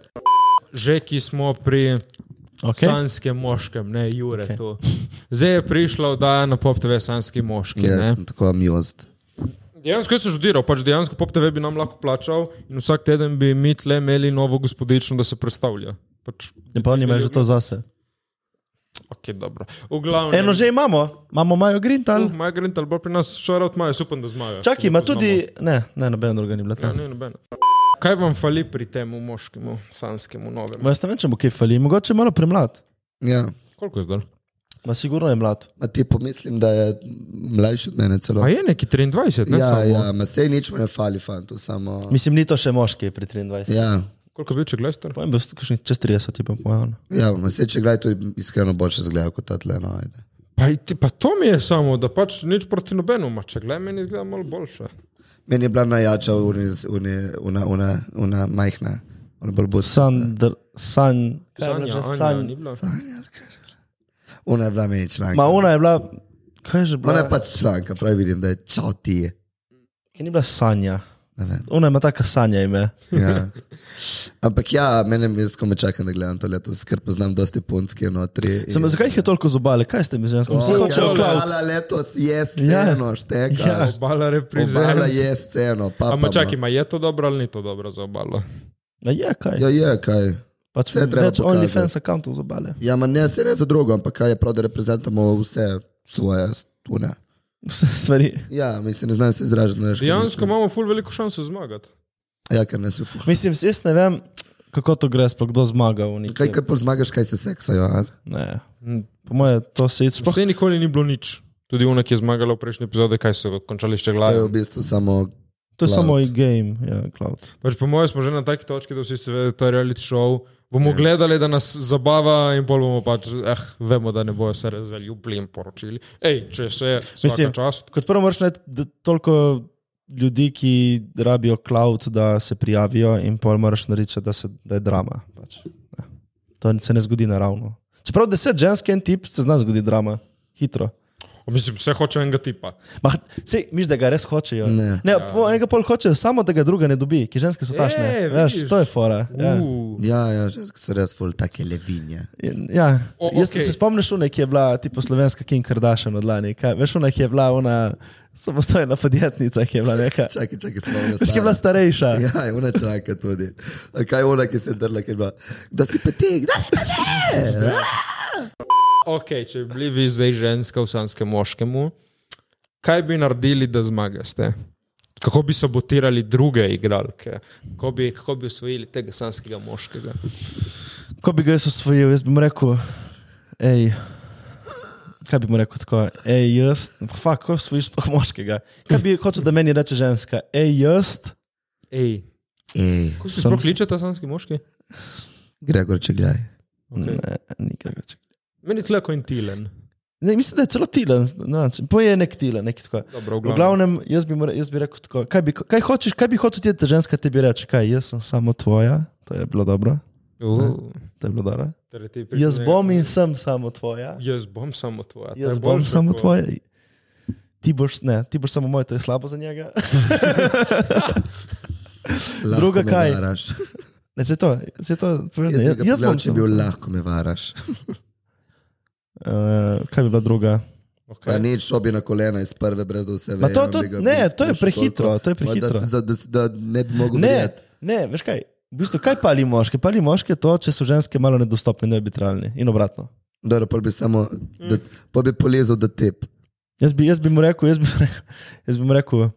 C: že ki smo pri okay.
D: Okay.
C: sanskem moškem, ne Jure. Okay. Zdaj je prišla oddaja na Pop TV Sanski moški.
B: Jaz
C: Yes.
B: sem tako amused.
C: Dejansko jaz sem žudiral, pač dejansko Pop TV bi nam lahko plačal in vsak teden bi mi tle imeli novo gospodično, da se predstavlja. Pač,
D: Ne pa oni imajo že to zase.
C: okay, dobro. V glavnem.
D: Eno že imamo, imamo Majo Grintal.
C: Uh, Maja Grintal bo pri nas, šarot Maja, upam, da zmaga.
D: Čakaj,
C: Ki
D: ima
C: ga poznamo.
D: tudi. Ne, ne, noben druga ni bila
C: Ja,
D: tam.
C: ni nobene. Kaj vam fali pri tem moškemu, sanskemu novemu?
D: Jaz ne vem, če mu kaj fali, mogoče je malo premlad.
B: Ja.
C: Koliko je zdaj?
D: Ma sigurno je mlad.
B: Ma ti pomislim, da je mlajši od mene celo.
C: A je neki 23, ne?
B: Ja,
C: samo?
B: ja, ma sej nič mu ne fali, fantu, samo.
D: Mislim, ni to še moški pri 23.
B: Ja,
C: Koliko je bil, če gledaš?
D: Pojem, bil si kakšnih čez 30, ti pa pojavno.
B: ja ma sej če gledaj, to je iskreno boljše zgleda kot ta tle, no, ajde.
C: Pa, i ti- pa to mi je samo, da pač nič proti nobenu, ma če gledaj, meni zgleda malo boljše.
B: Meni je bila najjača uni- uni- una, una, una majhna, ona bolj bo sa.
D: Sandr, san, kaj je bilo že?
C: Anja,
D: San,
C: ni bila.
B: Ona je bila meni članka.
D: ma ona je bila, kaj je že bila?
B: ona je pač članka, pravi vidim, da je čau ti.
D: Ki ni bila sanja.
B: Ne vem,
D: Ona ima taka sanja ime. [LAUGHS]
B: Ja. Ampak ja, meni je skome čakam, da gledam to leto, ker poznam dosti no, punske notri.
D: Sem, zakaj jih je toliko zobale? Kaj ste mi žensko? Vse
B: Oh,
D: hočejo klavt.
B: Obala letos je
D: Ja.
B: sceno, ja. šteka.
D: Ja.
B: Ja.
C: Obala
B: Obala
C: reprizera.
B: je sceno. Pa, pa,
C: Ampak čakaj, ma je to dobro ali ni to dobro za obalo?
D: Ja, kaj?
B: Ja, je kaj.
D: Pač
B: Vse je treba
D: več
B: pokazati.
D: OnlyFans akantov zobale.
B: Ja, ma ne, se ne za drugo, ampak kaj je prav, da reprezentamo vse svoje tune.
D: [LAUGHS] Vse stvari.
B: Ja, mi se ne znajo se izražati. ne veš, kaj
C: Dejansko
B: mislim.
C: imamo ful veliko šanso zmagati.
B: Ja, ker ne so fuh.
D: Mislim, jaz ne vem, kako to gre, sploh kdo zmaga v neki.
B: Kaj, kaj pol zmagaš, kaj se seksajo, ali?
D: Ne. Po mojem, to se je sploh.
C: Vse nikoli ni bilo nič. Tudi unak je zmagala v prejšnji epizodi, kaj so končali
B: To
C: še
B: je
C: glave.
B: v bistvu samo
D: To je
B: Cloud.
D: samo game, ja, cloud.
C: Pač po mojem smo že na taki točki, da vsi se vedo, to je reality show.
D: Ja.
C: Bomo gledali, da nas zabava in pol bomo pač, eh, vemo, da ne bojo se res zaljubili in poročili. Ej, če se je,
D: Mislim-
C: vsak čas.
D: Kot prvo, moraš najti da toliko ljudi, ki rabijo cloud, da se prijavijo, in pol moraš narediti, še, da, se, da je drama. Pač. Ja. To se ne zgodi naravno. Čeprav deset žensk in tip se zna zgoditi drama, hitro.
C: Mislim, vse hoče enega tipa.
D: Mah, sej, miš, da ga res hočejo.
B: Ne.
D: ne ja. Enega pol hočejo, samo da ga druga ne dobi, ki ženske so tašne.
C: E,
D: Veš,
C: vidiš.
D: to je fora. Ja.
C: Uh.
B: Ja, ja, ženske so res ful take levinje.
D: In, Ja,
C: O,
D: o, jaz
C: okej.
D: okay. se spomniš, une, ki je bila tipo slovenska Kim Kardashian od lani. Kaj, veš, una, ki je bila ona samostojna podjetnica, ki je bila neka.
B: [LAUGHS] Čakaj, čakaj, spomnim
D: Veš, ki je bila starejša.
B: Ja, je ona čaka tudi. A Kaj je ona, ki se je drla, ki je bila, da si petek, da si petek!
C: Ok, če bi bili vi zdaj ženska v sanskem moškemu, kaj bi naredili, da zmagaste? Kako bi sabotirali druge igralke? Kako bi, kako bi osvojili tega sanskega moškega?
D: Ko bi ga jaz osvojil, jaz bi mu rekel, hej. Kaj bi mu rekel tako, hej, jaz, fakt, ko osvojiš sploh moškega. Kaj bi hotel, da meni reče ženska, hej, jaz,
C: Ej,
B: Ej,
C: kako se
D: Sam-
C: sploh kliče ta sanski moški?
B: Gregor, če gledaj.
C: Okay.
D: ne, nikaj več.
C: Meni je tako intilen.
D: Ne, mislim, da je celo tilen, no, znači, poje nek tilen, nek tako.
C: Dobro, v
D: V
C: glavnem.
D: glavnem, jaz bi, mu re- jaz bi rekel tako, kaj, bi, kaj hočeš, kaj bi hotel ti, da ženska tebi reče, kaj, jaz sem samo tvoja, to je bilo dobro,
C: Uh,
D: to je bilo dobro.
C: torej ti pri-
D: Jaz
C: ne-
D: bom
B: ja.
D: in sem samo tvoja.
C: Jaz bom samo tvoja. to je
D: Jaz bom
C: boljše
D: samo
C: kot-
D: tvoja. Ti boš, ne, ti boš samo moj, to je slabo za njega. [LAUGHS]
B: Lahko
D: Druga
B: me
D: kaj?
B: Varaš.
D: Ne, se to, se to,
B: Jaz,
D: povedno, jaz, jaz bom
B: če
D: samo
B: bi bil,
D: tvoja.
B: lahko me varaš.
D: Uh, kaj bi bila druga?
B: Pa
C: Okay.
B: nič šobi na kolena iz prve, brez da vse
D: Ma
B: ve.
D: to- to- ne, to je prehitro, to je prehitro.
B: Da, se- da, da, se- da ne bi mogel
D: Ne,
B: verjeti.
D: ne, veš kaj? V bistvu, kaj pali moške? Pali moške to, če so ženske malo nedostopne, nearbitralne in obratno.
B: Dobro, pol bi samo, da, pol bi polezel, da tep.
D: Jaz bi, jaz bi mu rekel, jaz bi, mu rekel- jaz bi mu rekel,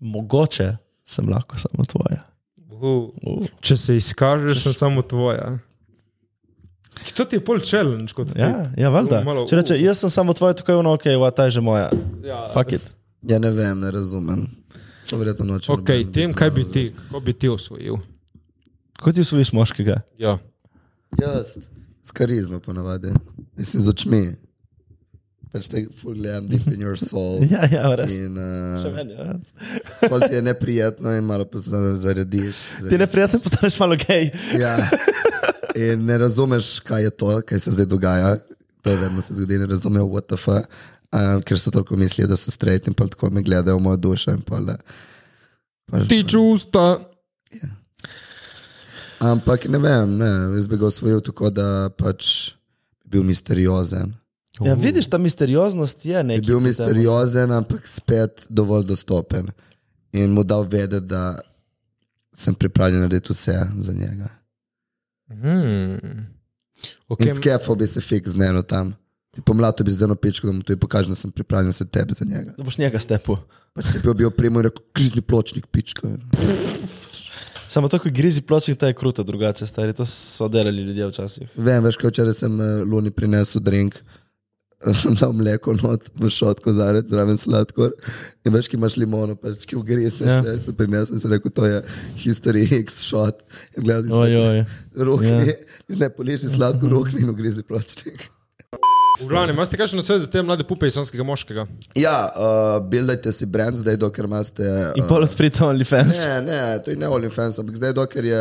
D: mogoče sem lahko samo tvoja.
C: Uh,
D: Uh,
C: če se izkažeš, sem samo tvoja. To ti je pol challenge kot ti.
D: ja, ja, valjda.
C: Uh, malo,
D: Če reče,
C: uh.
D: jaz sem samo tvoja, tako je ono, ok, va, ta je že moja.
C: Ja.
D: Fuck it.
B: Ja, ne vem, ne razumem. To verjetno noče.
C: Ok,
B: noben
C: tem,
B: biti
C: kaj bi
B: zraven.
C: ti, kako bi ti osvojil?
D: Kako ti usvojiš moškega? [LAUGHS]
C: Ja.
B: Jaz, s karizmo ponavadi, mislim z očmi. Pač te ful gledam deep in your soul.
D: [LAUGHS] Ja, ja, res.
B: In
D: Še
B: uh,
D: meni, ja.
B: pol ti je neprijetno in malo pa se zarediš.
D: Ti neprijetno postaneš malo gej.
B: Ja. In ne razumeš, kaj je to, kaj se zdaj dogaja. To je vedno se zgodi, ne razumejo WTF, uh, ker so tako mislili, da so straight in pa tako me gledajo v mojo dušo. in Pol, eh, pol-
C: Ti čustva.
B: Ampak ne vem, ne, jaz bi ga osvojil tako, da pač bi bil misteriozen.
D: Ja, vidiš, ta misterioznost je
B: je
D: nekaj.
B: bil
D: v tem.
B: misteriozen, ampak spet dovolj dostopen. In mu dal vedeti, da sem pripravljen narediti vse za njega.
C: Hmm.
B: In
C: Okay.
B: s kefo bi se fik z eno tam. Pomlato bi z eno pičko, da mu tudi pokažem, da sem pripravljen se tebe za njega.
D: Da boš njega stepu.
B: Pač ti bi bil primo in rekel, križni pločnik, pička.
D: Samo to, ko grizi pločnik, ta je kruta drugače, stari. To so delali ljudje včasih.
B: Vem, veš, kaj včeraj sem eh, Luni prinesel drink. eh, Sem dal mleko not, v šot, kozarec, zraven sladkor. In veš, ki imaš limono, pač ki
D: Ja.
B: ugrizneš, ja. se prinesel in sem rekel, to je History X šot. In gledal sem,
D: Ojoj.
B: Rohni, ja. ne poleži sladko, rohni in ugrizi pločnik.
C: V glavnem, imate kakšno vse za te mlade pupe iz sanskega moškega?
B: Ja, uh, bildajte si brand zdaj, dokler imate.
D: In pol odprite OnlyFans.
B: Ne, ne, to je ne OnlyFans, ampak zdaj, dokler je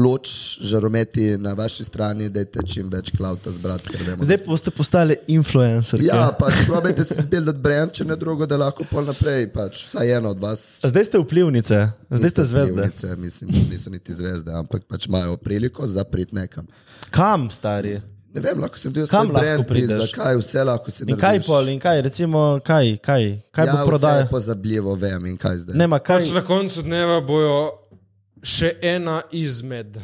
B: loč žarometi na vaši strani, dajte čim več klauta zbrati, ker vemo.
D: Zdaj boste postali influencerji.
B: Ja, pač probajte si zbildati brand, če ne drugo, da lahko pol naprej, pač vsaj eno od vas.
D: Zdaj ste vplivnice, zdaj ste
B: niste
D: zvezde.
B: vplivnice, Mislim, niso niti zvezde, ampak pač imajo priliko za prid nekam.
D: Kam, stari?
B: Ne vem, lahko sem del
D: Kam
B: svoj
D: lahko
B: brand,
D: prideš?
B: zakaj vse lahko se
D: In kaj pol, in kaj, recimo, kaj, kaj, kaj
B: Ja,
D: bo prodajal?
B: Pozabljivo vem in kaj zdaj.
D: Nema, kaj,
C: Pač na koncu dneva bojo še ena izmed.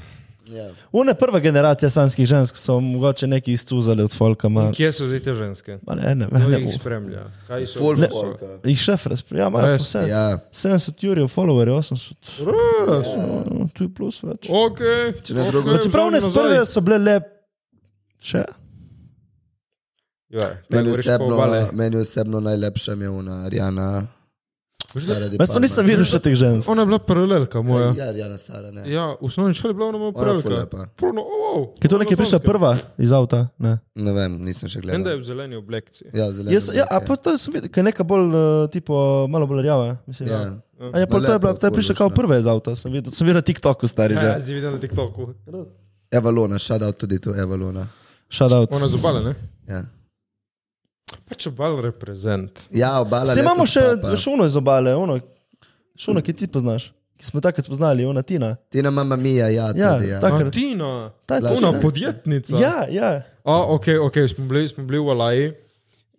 B: Ja.
D: Une prva generacija sanskih žensk so mogoče neki iztuzali od folka. Ma,
C: Kje so zdaj te ženske?
D: ma ne, ne,
C: Kdo
D: ne,
C: jih
D: ne.
C: spremlja? Kaj so?
B: Full
C: Kdo so?
B: folka.
D: Jih šef razprava, imajo
C: Res,
D: vse.
B: Ja.
D: 70 jurjev, followerjev, 800.
C: Res.
D: No, tu je plus več. No,
C: Ok.
B: Če ne
C: ok,
B: drugo-
C: vzemi
D: Čeprav ne
C: nazaj.
D: sprve so bile le. Še?
C: Ja,
B: Meni
C: ne govoriš pa
B: osebno,
C: obale.
B: meni osebno najlepša mi je ona Arjana. Stara Di
D: Jaz pa
B: Palma.
D: nisem videl še teh žensk.
C: Ona je bila paralelka moja.
B: Ja, Arjana stara, ne.
C: Ja, v osnovni šoli je bila ona moja
B: Ona je ful
C: paralelka.
B: lepa.
C: Prono, oh, oh,
D: Kaj to nekje prišla prva iz avta? Ne.
B: Ne vem, nisem še
C: Vem, da je
B: gledal.
C: v zeleni oblekci.
B: Ja, zeleno.
D: Jaz, ja, a
B: obleke.
D: pa to sem videl, ker je neka bolj, eh, tipo, malo bolj rjava. Mislim,
B: Ja.
D: ja. A ja, pol
B: Ma
D: to je
B: lepo,
D: bila, to je prišla kao
B: odlično.
D: prva iz avta, sem videl, sem videl na TikToku stari
C: Ja,
D: že.
C: zdaj videl na TikToku.
B: Evalona, šadal tudi tu Evalona.
D: Shout out.
C: Ona z obale, ne?
B: Ja,
C: Pač obal reprezent.
B: ja obala.
D: Se
B: letos
D: imamo še
B: papa.
D: šuno iz obale, ono, šuno, ki ti poznaš, ki smo takrat spoznali, ona Tina.
B: Tina mama mija, ja,
D: Ja,
B: tudi, ja.
D: tako. Takrat.
C: Martina,
D: Ta je
C: ona
D: Tina.
C: podjetnica.
D: Ja, ja.
C: A, ok, ok, Ah, smo bili, smo bili v Alaji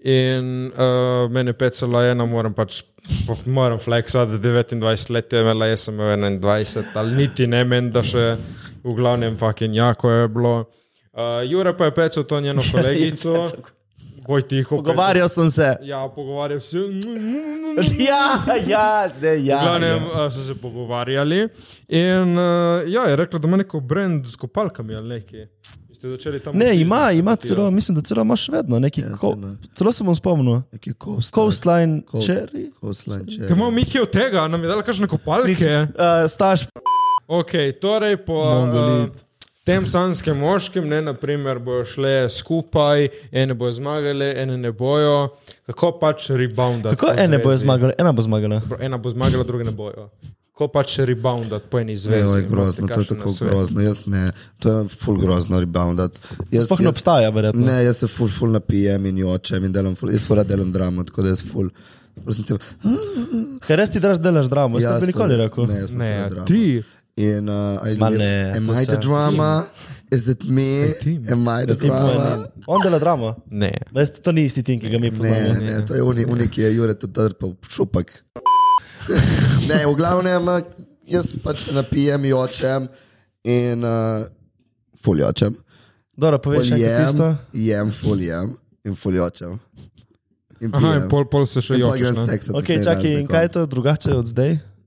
C: in uh, meni je pecala ena, moram pač, pa moram fleksati, da 29 let je imela, jaz sem imel 21, ali niti ne meni, da še v glavnem fucking jako je bilo. Uh, Jure pa je pecal to
D: [LAUGHS]
C: njeno kolegico, boj tiho. pecal.
D: Pogovarjal sem se.
C: Ja, pogovarjal se.
D: [LAUGHS] Ja, ja, zdaj ja.
C: V glavnem ja. so se pogovarjali. In uh, ja, je rekla, da ima neko brand z kopalkami ali nekaj. In Ste začeli tam v
D: Ne,
C: biznis
D: ima, ima
C: kotirati.
D: celo, mislim, da celo imaš še vedno neki. Ko,
B: ne.
D: celo se bom spomnil.
B: Neki coastline.
D: Coastline,
B: Coast-
D: Cherry.
B: Coastline
C: Kaj
B: cherry.
C: E, imamo mi kaj od tega, nam je dala kakšne kopalke?
D: Uh, staž,
C: Ok, torej po uh,
D: Mongolit.
C: tem sanskem moškem, ne naprimer, bojo šle skupaj, ene bojo zmagale, ene ne bojo. Kako pač reboundati?
D: kako
C: po
D: ene bo
C: zvezi?
D: zmagala, ena bo zmagala.
C: Bro, Ena bo zmagala, druge ne bojo. Kako pač reboundati po eni zvezi?
B: To je
C: Imate
B: grozno, to je
C: kakšen
B: tako
C: nasvet?
B: grozno. Jaz ne, to je ful grozno reboundat. Jaz,
D: Sploh ne
B: jaz-
D: obstaja, verjetno.
B: Ne, jaz se ful, ful napijem in jočem in delam ful, jaz ful delam dramo, tako da jaz ful. Prosim, cel,
D: Ker res ti draž delaš dramo, jaz ne bi nikoli rekel.
B: Ne, jaz sem
C: Ne,
B: drama.
C: ti.
B: In uh, I
D: Ma
B: live,
D: ne,
B: am
D: to
B: I the
D: se- E,
B: drama? Is it me? Am I the
D: Ti mu je
B: drama?
D: ne. On dela dramo.
C: Ne.
D: Veste, to ni isti tim, ki ga mi
B: Ne,
D: poznamo.
B: ne, to je unik, unik je Jure tudi trpel, šupak. [LAUGHS] ne, v glavnem, uh, jaz pač se napijem, jočem in uh, fuljočem.
D: Dobro, poveš še enkrat
B: Jem,
D: tisto.
B: jem, fuljem in fuljočem. In
C: Aha,
B: pijem.
C: in pol, pol se še
B: In Ja. pa grem
C: jočeš. ne?
B: seksat.
D: Ok, čakaj, in kaj je to drugače od zdaj?
B: to?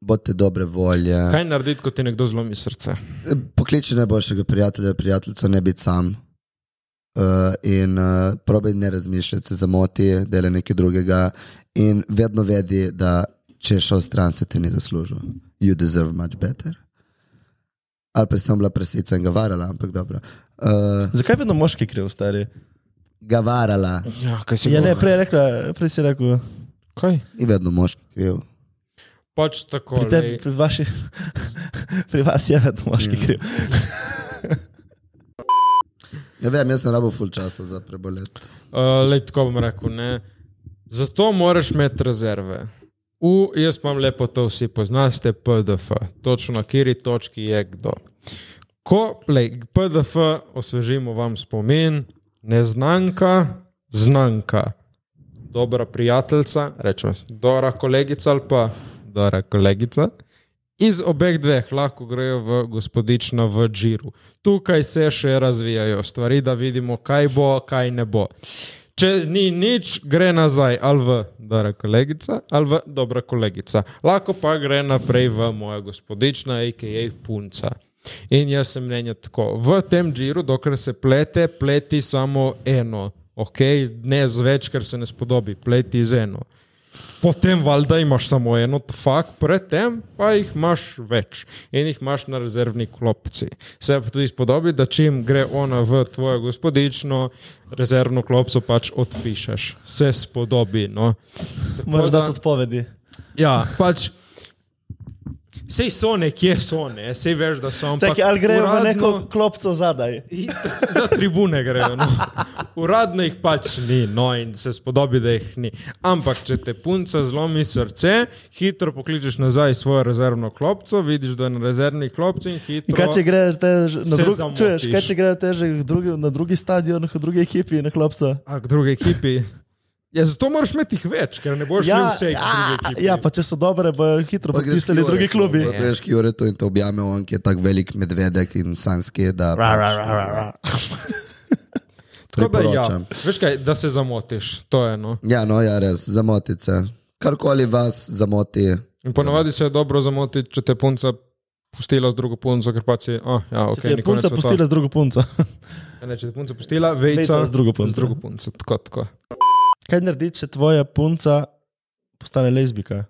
B: bodite dobre volje.
C: Kaj narediti, ko ti nekdo zlomi srce?
B: Pokliči najboljšega prijatelja, prijateljico, ne biti sam. Uh, in uh, probi ne razmišljati, se zamoti, dela nekaj drugega. In vedno vedi, da če je šel stran, se ti ni zaslužil. You deserve much better. Ali pa sem bila presica in ga varala, ampak dobro. Uh,
D: Zakaj vedno moški kriv, stari?
B: ga varala
C: Ja, kaj si
D: Ja, ne, prej, je rekla, prej si rekel,
C: Kaj?
B: in vedno moški kriv.
C: Pač tako.
D: pri, tebi,
C: lej.
D: pri, vaši, [LAUGHS] pri vas je vedno moški kriv.
B: Ne vem, jaz sem rabo full časa za preboleti.
C: Uh, Lej, tako bom rekel, ne. Zato moraš imeti rezerve. U, jaz imam lepo to, vsi poznate, PDF. Točno na kateri točki je kdo. Ko lej, PDF osvežimo vam spomin, neznanka, znanka, dobra prijateljica, rečemo, dobra kolegica ali pa dobra kolegica. Iz obeh dveh lahko grejo v gospodično v Džiru. Tukaj se še razvijajo stvari, da vidimo, kaj bo, kaj ne bo. Če ni nič, gre nazaj ali v dobra kolegica ali v dobra kolegica. Lahko pa gre naprej v moja gospodična, a.k.a. punca. In jaz sem mnenja tako. V tem džiru, dokler se plete, pleti samo eno. Okay? Ne z več, ker se ne spodobi, pleti z eno potem valjda imaš samo eno, fakt, predtem pa jih imaš več in jih imaš na rezervni klopci. Se pa tudi spodobi, da čim gre ona v tvojo gospodično, rezervno klopco pač odpišeš. Se spodobi. No.
D: Moraš
C: da-
D: dati odpovedi.
C: Ja, pač. Sej so nekje, so ne, sej veš, da so. ampak
D: Čakaj, ali grejo v neko
C: uradno-
D: klopco zadaj?
C: Itak, Za tribune grejo. No. Uradno jih pač ni, no in se spodobi, da jih ni. Ampak, če te punca zlomi srce, hitro pokličeš nazaj svojo rezervno klopco, vidiš, da je na rezervni klopci in
D: In
C: hitro.
D: kaj če greš te že na
C: se
D: drugi,
C: zamotiš.
D: čuješ, kaj če greš te že k drugi, na drugi stadion, k drugi ekipi, na klopca?
C: A k drugi ekipi. Ja, zato moraš imeti jih več, ker ne boš imel vseh drugih ekip.
D: ja, pa če so dobre, bojo hitro podpisali drugi klubi.
B: Greš k Juretu in te objame, on ki je tako velik medvedek in sanski, je, da pač
C: [LAUGHS] Tako da, ja.
B: priporočam.
C: Veš kaj, da se zamotiš, to je eno.
B: Ja, no, ja, res, zamotice. Karkoli vas zamoti,
C: In ponavadi se je dobro zamotiti, če te punca pustila z drugo punco, ker pač je, oh, ja, ok,
D: Če ti Je punca pustila z drugo punco.
C: Ja, Ne, če te punca pustila, vejca,
D: Vejca z drugo punco.
C: Z drugo punco, tako, tako.
D: Kaj naredi, če tvoja punca postane lezbika?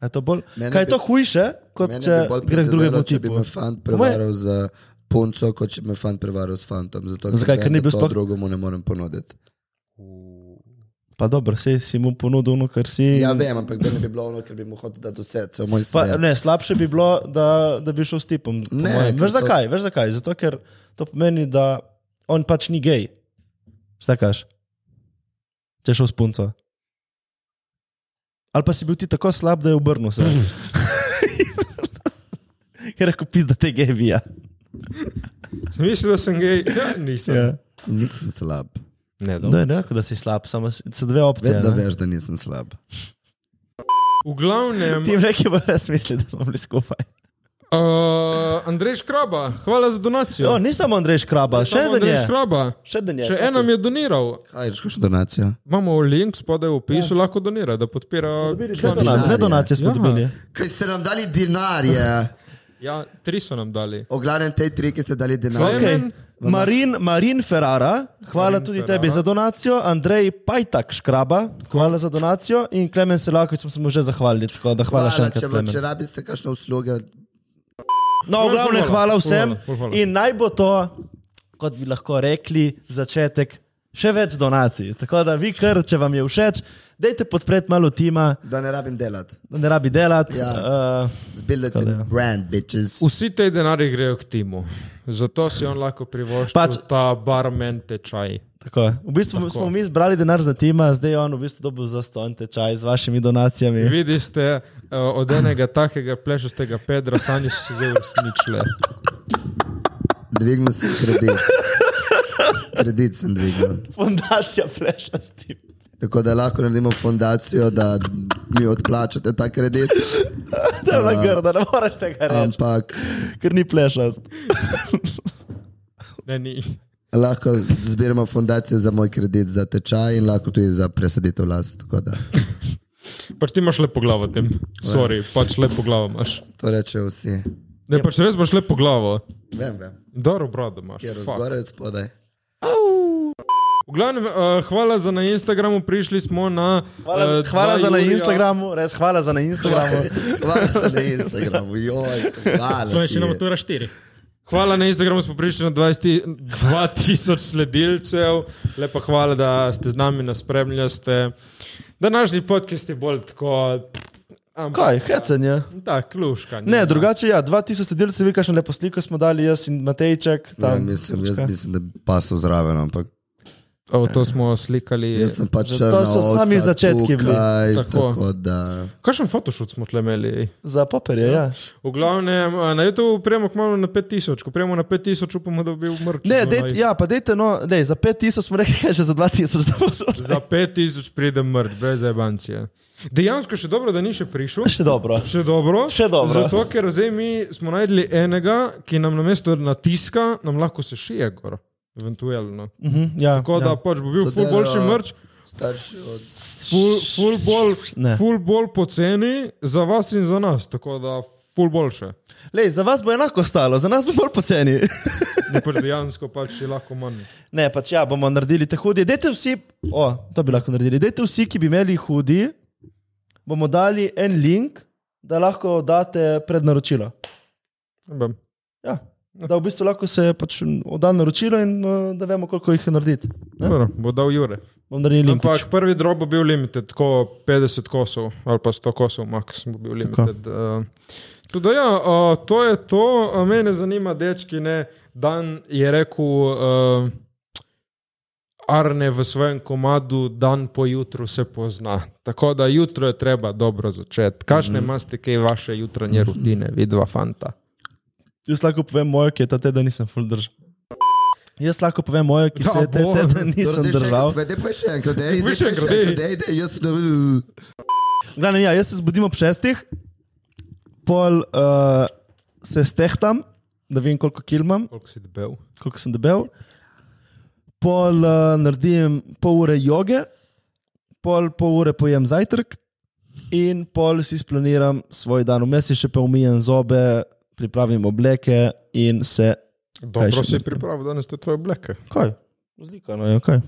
D: A je to bolj,
B: Mene
D: kaj je
B: bi-
D: to hujše, kot
B: Mene
D: če
B: bi bolj
D: greš drugemu
B: prizadelo, Če bi
D: tipu?
B: me fant prevaral z punco, kot če bi me fant prevaral s fantom. Zato,
D: Zakaj, ker
B: vem,
D: ni
B: da
D: bil
B: to
D: sploh-
B: drugemu ne morem ponuditi.
D: Pa dobro, sej si mu ponudil ono, kar si.
B: Ja, vem, ampak meni bi bilo ono, ker bi mu hotel dati vse, cel moj
D: Pa,
B: svet.
D: ne, slabše bi bilo, da, da bi šel s tipom. po
B: Ne,
D: mojem.
B: ker
D: veš
B: to-
D: zakaj? Veš zakaj? Zato, ker to pomeni, da on pač ni gej. Stakaš. Če je šel s punco. Ali pa si bil ti tako slab, da je
B: [LAUGHS]
D: obrnil se. Ker je kupil, da te gej bija.
C: Sem mislil, da sem gej, ja, nisem.
D: Ja.
B: Nisem slab.
C: Ne,
D: Da je nekako, da si slab, samo s- so dve opcije.
B: Vem, da
D: ne.
B: veš, da nisem slab.
C: V glavnem,
D: Ti neki bo res mislil, da smo bili skupaj.
C: uh, Andrej Škraba, hvala za donacijo.
B: Ja.
D: Jo, ni samo Andrej Škraba, Ja, še
C: Samo
D: eden
C: Andrej
D: je.
C: Škraba.
D: Še eden je.
C: Še en nam je doniral.
B: Kaj je, kakšna donacija?
C: Imamo link spodaj v
D: Ja.
C: opisu, lahko donira, da podpira.
D: Dve
C: člane.
D: donacije, dve donacije smo
C: Ja.
D: dobili.
B: Kaj ste nam dali dinarje?
C: Ja, tri so nam dali.
B: O glavnem te tri, ki ste dali
C: Okej.
B: dinarje.
D: Okay. Marin, Marin Ferrara, hvala Marin tudi Ferrara.
C: Ferrara.
D: tebi za donacijo, Andrej Pajtak Škraba, hvala za donacijo in Klemen Selakovič smo se mu že zahvalili. Tako da hvala, hvala še
B: Hvala, če,
D: enkrat. Klemen.
B: če rabite kakšne usluge,
D: No, v glavnem
C: Ful
D: hvala
C: hvala,
D: vsem
C: ful hvala, ful hvala.
D: in naj bo to, kot bi lahko rekli, začetek še več donacij. Tako da vi, kar, če vam je všeč, dajte podpreti malo tima,
B: da ne rabim delati.
D: da ne rabi delati.
B: Ja.
D: Ja.
B: Zbildite
D: Tako da ja.
B: brand, bitches.
C: Vsi te denari grejo k timu, zato si on lahko privošči pač,
D: Pač-
C: ta barmen tečaj.
D: Tako, je. v bistvu tako. smo mi zbrali denar za tima, zdaj je on v bistvu dobil za ston tečaj z vašimi donacijami.
C: Vidite, ste uh, od enega takega plešastega Pedra, sanje so se zdaj uresničile.
B: Dvignil sem kredit. Kredit sem dvignil.
D: Fundacija pleša s tim.
B: Tako da lahko naredimo fundacijo, da mi odplačate ta kredit.
D: To je bilo grdo, ne moreš tega reči,
B: Ampak
D: ker ni plešast.
C: Ne, ni.
B: lahko zbiramo fundacijo za moj kredit, za tečaj in lahko tudi za presaditev las. Tako da
C: Pač ti imaš lepo glavo tem.
D: Ja.
C: Sorry, pač lepo glavo imaš.
B: to rečejo vsi.
C: Ne, pač res imaš lepo glavo.
B: Vem, vem.
C: Dobro, brado imaš.
B: Kjer
C: fuck.
B: razgore, spodaj.
C: V glavnem, uh, hvala za na Instagramu, prišli smo na.
D: Hvala, za-
C: eh,
D: hvala
C: dva
D: za na
C: julija.
D: Instagramu, res hvala za na Instagramu.
B: Hvala za na Instagramu, joj, hvala. ti.
A: Slovenščina matura 4.
C: Hvala na Instagramu, smo prišli na 20 2000 sledilcev, lepa hvala, da ste z nami, nas spremljate. Današnji podcast je bolj tako. Ampak,
D: Kaj, hecanje?
C: da, kluška.
D: Ne, drugače, ja, 2000 sedel se vi, kakšno lepo sliko smo dali, jaz in Matejček.
B: Ja,
D: Tam,
B: mislim, jaz
D: srčka.
B: mislim, da bi pasal zraven, ampak
C: O, to smo slikali.
B: jaz sem pač
D: Že to
B: črn.
D: so sami začetki bili.
B: Tukaj,
C: Tako.
B: tako da.
C: Kakšen fotošut smo tle imeli? ej?
D: Za paperje, ja.
C: V glavnem, a, na YouTube prejmo kmalo na 5000, ko prejmo na 5000, upamo, da bi bil mrtev.
D: Ne, dejte, ja, pa dejte, no, dej, za 5000 smo rekli, [LAUGHS] kaj že za 2000 smo zbrali.
C: Za 5000 pride mrtev, brez zabancije. Dejansko še dobro, da ni še prišel.
D: Še dobro.
C: Še dobro.
D: Še dobro.
C: Zato, ker zdaj mi smo najdli enega, ki nam na mesto natiska, nam lahko se šije gor, eventualno.
D: Mhm, ja,
C: Tako da
D: ja.
C: pač bo
B: To
C: bil ful
B: dela-
C: boljši mrč,
B: Starši od
C: ful, ful, bolj,
D: Ne.
C: ful bolj poceni za vas in za nas. Tako da ful boljše.
D: Lej, za vas bo enako stalo, za nas bo bolj poceni.
C: Ne pač dejansko pač je lahko manj.
D: Ne, pač ja, bomo naredili te hudi. Dajte vsi, o, to bi lahko naredili. Dajte vsi, ki bi imeli hudi, bomo dali en link, da lahko date prednaročilo.
C: Ne vem.
D: Ja. Da v bistvu lahko se pač odda naročilo in eh, da vemo, koliko jih je narediti.
C: Dobro, Bo dal Jure.
D: bom naredil link. pač,
C: Ampak prvi drop bo bil limited, tako 50 kosov ali pa 100 kosov, max bo bil limited. Uh, tudi, ja, uh, to je to, uh, mene zanima, dečki. Ne. Dan je rekel, uh, Arne v svojem komadu, dan po jutru se pozna. Tako da jutro je treba dobro začeti. Kakšne
D: Mhm.
C: mm. imate kaj vaše jutranje rutine, vidva fanta?
D: Jaz lahko povem mojo, ki je ta teden nisem full držal. Jaz lahko povem mojo, ki
C: Da,
D: se je ta
C: bo.
D: teden nisem držal.
B: Vede pa še enkrat, dej,
C: Povej
B: dej,
C: še
B: še
C: enkrat,
B: enkrat, dej,
C: daj.
B: dej, dej, jaz ne.
D: Glavno, ja, jaz se zbudim ob šestih, pol uh, se stehtam, da vem, koliko kil imam,
C: Koliko si debel?
D: koliko sem debel. Pol uh, naredim pol ure joge, pol pol ure pojem zajtrk in pol si splaniram svoj dan. Vmes si še pa umijem zobe, pripravim obleke in se. Kaj
C: Dobro
D: še
C: si
D: naredim?
C: pripravil danes te tvoje obleke.
D: Kaj? Zlikano je, kaj.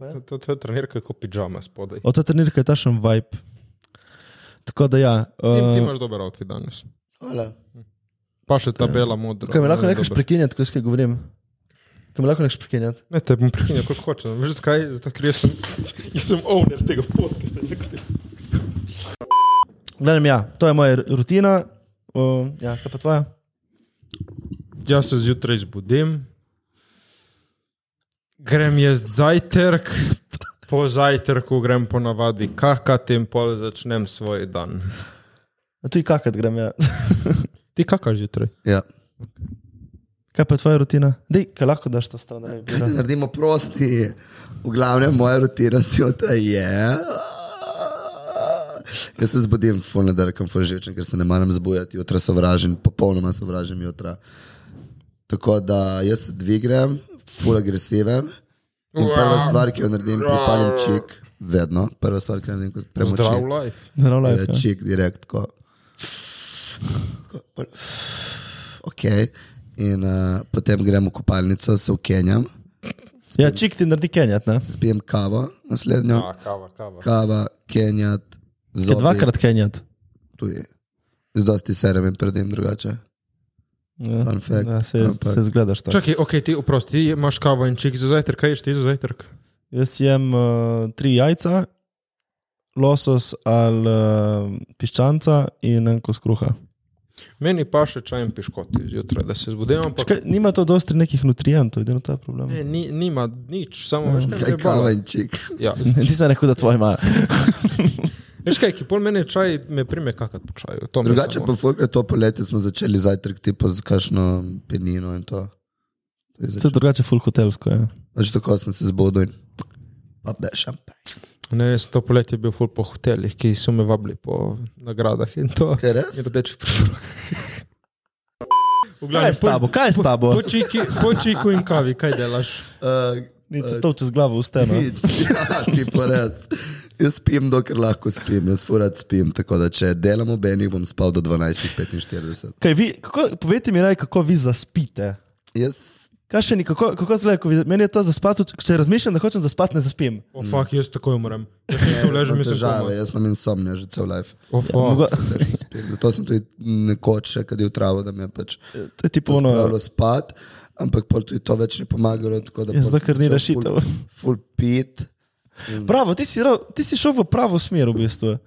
C: To- To to je trenirka kot pižama spodaj.
D: Od te trenirke je ta še en vibe. Tako da ja.
C: Tim, ti
D: Uh,
C: imaš dober outfit danes.
B: Hvala.
C: Pa še ta bela modra.
D: kaj me lahko
C: Ne,
D: nekaj
C: dobro.
D: prekinjati, ko jaz kaj govorim? Kaj me lahko nekaj prekinjati?
C: Ne, te bom prekinil, kako hočeš. Veš zakaj? Zato, ker jaz sem, [LAUGHS] jaz sem owner tega podcasta.
D: Gledam, ja, to je moja rutina. Uh, ja, kaj pa tvoja?
C: Jaz se zjutraj zbudim, grem jaz zajtrk, po zajtrku grem ponavadi kakat in pol začnem svoj dan.
D: A tu je kakat grem, ja.
C: Ti kakaš zjutraj?
B: Ja.
D: Kaj pa je tvoja rutina? Dej, kaj lahko daš to stran? da ne bi
B: Kaj ti
D: bilo.
B: naredimo prosti? V glavnem, moja rutina zjutraj je. Jaz se zbudim, fulno da rekem, fulžečen, ker se ne maram zbujati, jutra sovražim, popolnoma sovražim jutra. Tako da jaz se dvignem, ful agresiven. In prva stvar, ki jo naredim, pripalim čik, vedno. Prva stvar, ki jo naredim, ko
C: Zdrav
B: premočim,
C: life.
D: Zdrav life,
B: je
D: ja.
B: čik direkt. Tako. Tako, pol- Ok. In uh, potem grem v kopalnico, se ukenjam
D: Ja, čik ti naredi kenjat, ne?
B: spijem kavo, naslednjo
C: A, Ja, kava, kava.
B: kava, kenjat,
D: Kaj
B: zelo
D: dvakrat kenjat.
B: Tudi. Z dosti serem in predem drugače.
D: Ja,
B: Fun fact.
D: ja, se,
B: Ampak-
D: se zgledaš tako.
C: Čakaj, ok, ti oprosti, ti imaš kavo in čik za zajtrk, kaj ješ ti za zajtrk?
D: Jaz jem uh, tri jajca, losos ali uh, piščanca in en kos kruha.
C: Meni pa še čaj in piškoti zjutraj, da se zbudim, ampak
D: Čakaj, nima to dosti nekih nutrientov, edino to je problem. [LAUGHS]
C: ne, ni, nima nič,
D: Mm.
C: samo veš, kaj
B: Kaj
C: je
B: kava
C: kava.
B: in čik.
C: Ja.
D: Nisem rekel, da tvoje ima.
C: Veš kaj, ki pol mene čaj me prime kakat po čaju. to me
B: Drugače
C: samo-
B: pa fulkrat to poletje smo začeli zajtrk tipo z kakšno penino in to. To je
D: Vse
B: začelo.
D: drugače, full hotelsko ja. je.
B: Pač tako sem se zbudil in pa da šampaj.
C: Ne, jaz to poletje bil ful po hotelih, ki so me vabili po nagradah in to.
B: Kaj res?
C: In rdeči pršprok.
D: Kaj je s tabo? Kaj je s tabo?
C: Po, čiki, po čiku in kavi, kaj delaš?
B: Uh,
D: Ni ti to čez glavo usteno.
C: No.
B: nič, [LAUGHS] ja, tipo res. Jaz spim, dokler lahko spim, jaz furat spim, tako da če delam ob enih, bom spal do 12.45.
D: Kaj vi, kako, povejte mi, raj, kako vi zaspite.
B: Jaz
D: Kaj še ni, kako, kako zgleda, ko vi, meni je to zaspati, če razmišljam, da hočem zaspati, ne zaspim.
C: O, oh, fuck, jaz takoj umrem. Jaz se
B: Imam
C: uležem, jaz sem
B: težave,
C: žal.
B: jaz imam insomnijo že cel life.
C: O, fuck.
D: Mogo,
B: Težko spim. Zato sem tudi nekoč, še, kad je v travo, da me je pač
D: to je tipo ono,
B: ponovno spat, ampak pol tudi to več ni pomagalo. tako da
D: Ja,
B: pol
D: zato,
B: sem
D: ker ni
B: začel
D: rešitev.
B: Ful, ful pit.
D: bravo, ti si, ra- ti si šel v pravo smer v bistvu.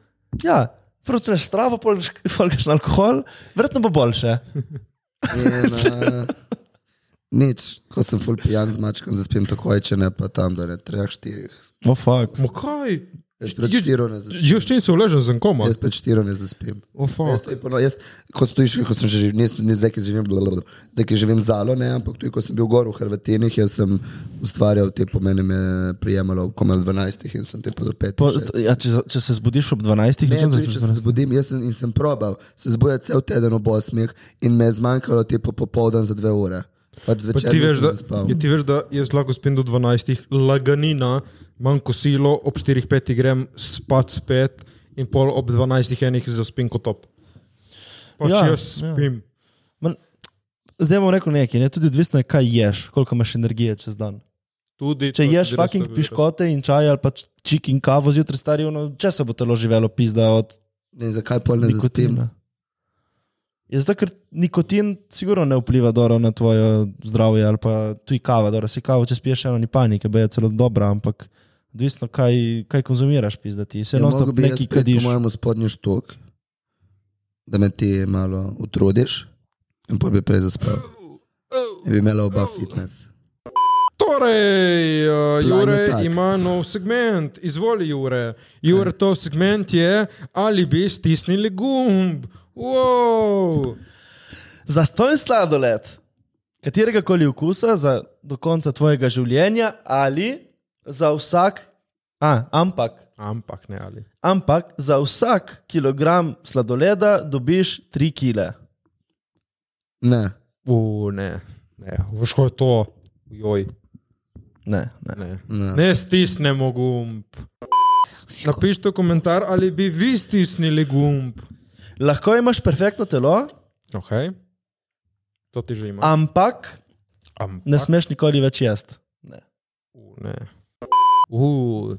D: Ja, prvo češ travo, pol greš- [LAUGHS] pol greš na alkohol, verjetno bo boljše.
B: In, uh, nič, ko sem ful pijan z mačkom, zaspim takoj, če ne pa tam do ne, treh, štirih.
D: No, fuck.
C: Mo kaj?
B: Jaz pred štiro ne zaspim.
C: Jaz čim se uležem, sem koma.
B: Jaz pred štiro ne zaspim.
C: O,
B: Jaz,
C: fuck.
B: tudi pono- jaz, ko sem tu išel, ko sem že živel, nisem zdaj, ki živim, blablabla, zdaj, ki živim zalo, ne, ampak tudi ko sem bil gor v Hrvatinih, jaz sem ustvarjal te pomene, me je prijemalo komaj 12 in sem te pa do 5.
D: Po, ja, če, za- če se zbudiš ob 12,
B: Ne,
D: ne,
B: tudi, če se
D: ne,
B: zbudim, jaz sem, in sem probal, se zbudil cel teden ob 8 in me je zmanjkalo te popoldan za 2 ure. Pač
C: Pa
B: zvečer
C: ti veš,
B: nisem
C: da,
B: zaspal.
C: ja, ti veš, da jaz lahko spim do 12, laganina, manj kosilo, ob 4-5 grem spat spet in pol ob 12 enih zaspim kot top. Pač
D: Ja,
C: ja, jaz spim. Ja.
D: Zdaj bom rekel nekaj, ne? tudi odvisno je, kaj ješ, koliko imaš energije čez dan.
C: Tudi,
D: Če
C: to je
D: ješ
C: res
D: fucking
C: dobro.
D: piškote in čaj ali pa č- čik in kavo zjutraj stari, ono, če se bo telo živelo, pizda od
B: Ne, zakaj pol ne zaspim?
D: nikotina. Je Ja, zato, ker nikotin sigurno ne vpliva dobro na tvoje zdravje ali pa tudi kava. Dobro, si kavo, če spiješ eno, ni panike, bo je celo dobra, ampak odvisno, kaj, kaj konzumiraš, pizdati. Se
B: Ja,
D: enostavno
B: mogo bi jaz
D: neki
B: priti
D: kadiš.
B: po mojemu spodnji štok, da me ti malo utrudiš in pa bi prej zaspal. In bi imela oba fitness.
C: Torej, uh,
B: Plan je
C: Jure
B: tak. Ja.
C: ima nov segment, izvoli Jure. Jure, to segment je, ali bi stisnili gumb. Wow.
D: Zastojn sladoled, katerega koli okusa za do konca tvojega življenja ali za vsak, a, ampak,
C: Ampak ne ali.
D: ampak za vsak kilogram sladoleda dobiš 3 kile.
B: Ne,
C: U, ne, ne, veš, ko je to. Joj,
D: Ne, ne.
C: ne.
B: ne.
C: ne stisnemo gumb. Napišite v komentar, ali bi vi stisnili gumb.
D: Lahko imaš perfektno telo,
C: Okay. To ti že ima.
D: ampak
C: Ampak,
D: ne smeš nikoli več jesti. Ne.
C: U, ne. U,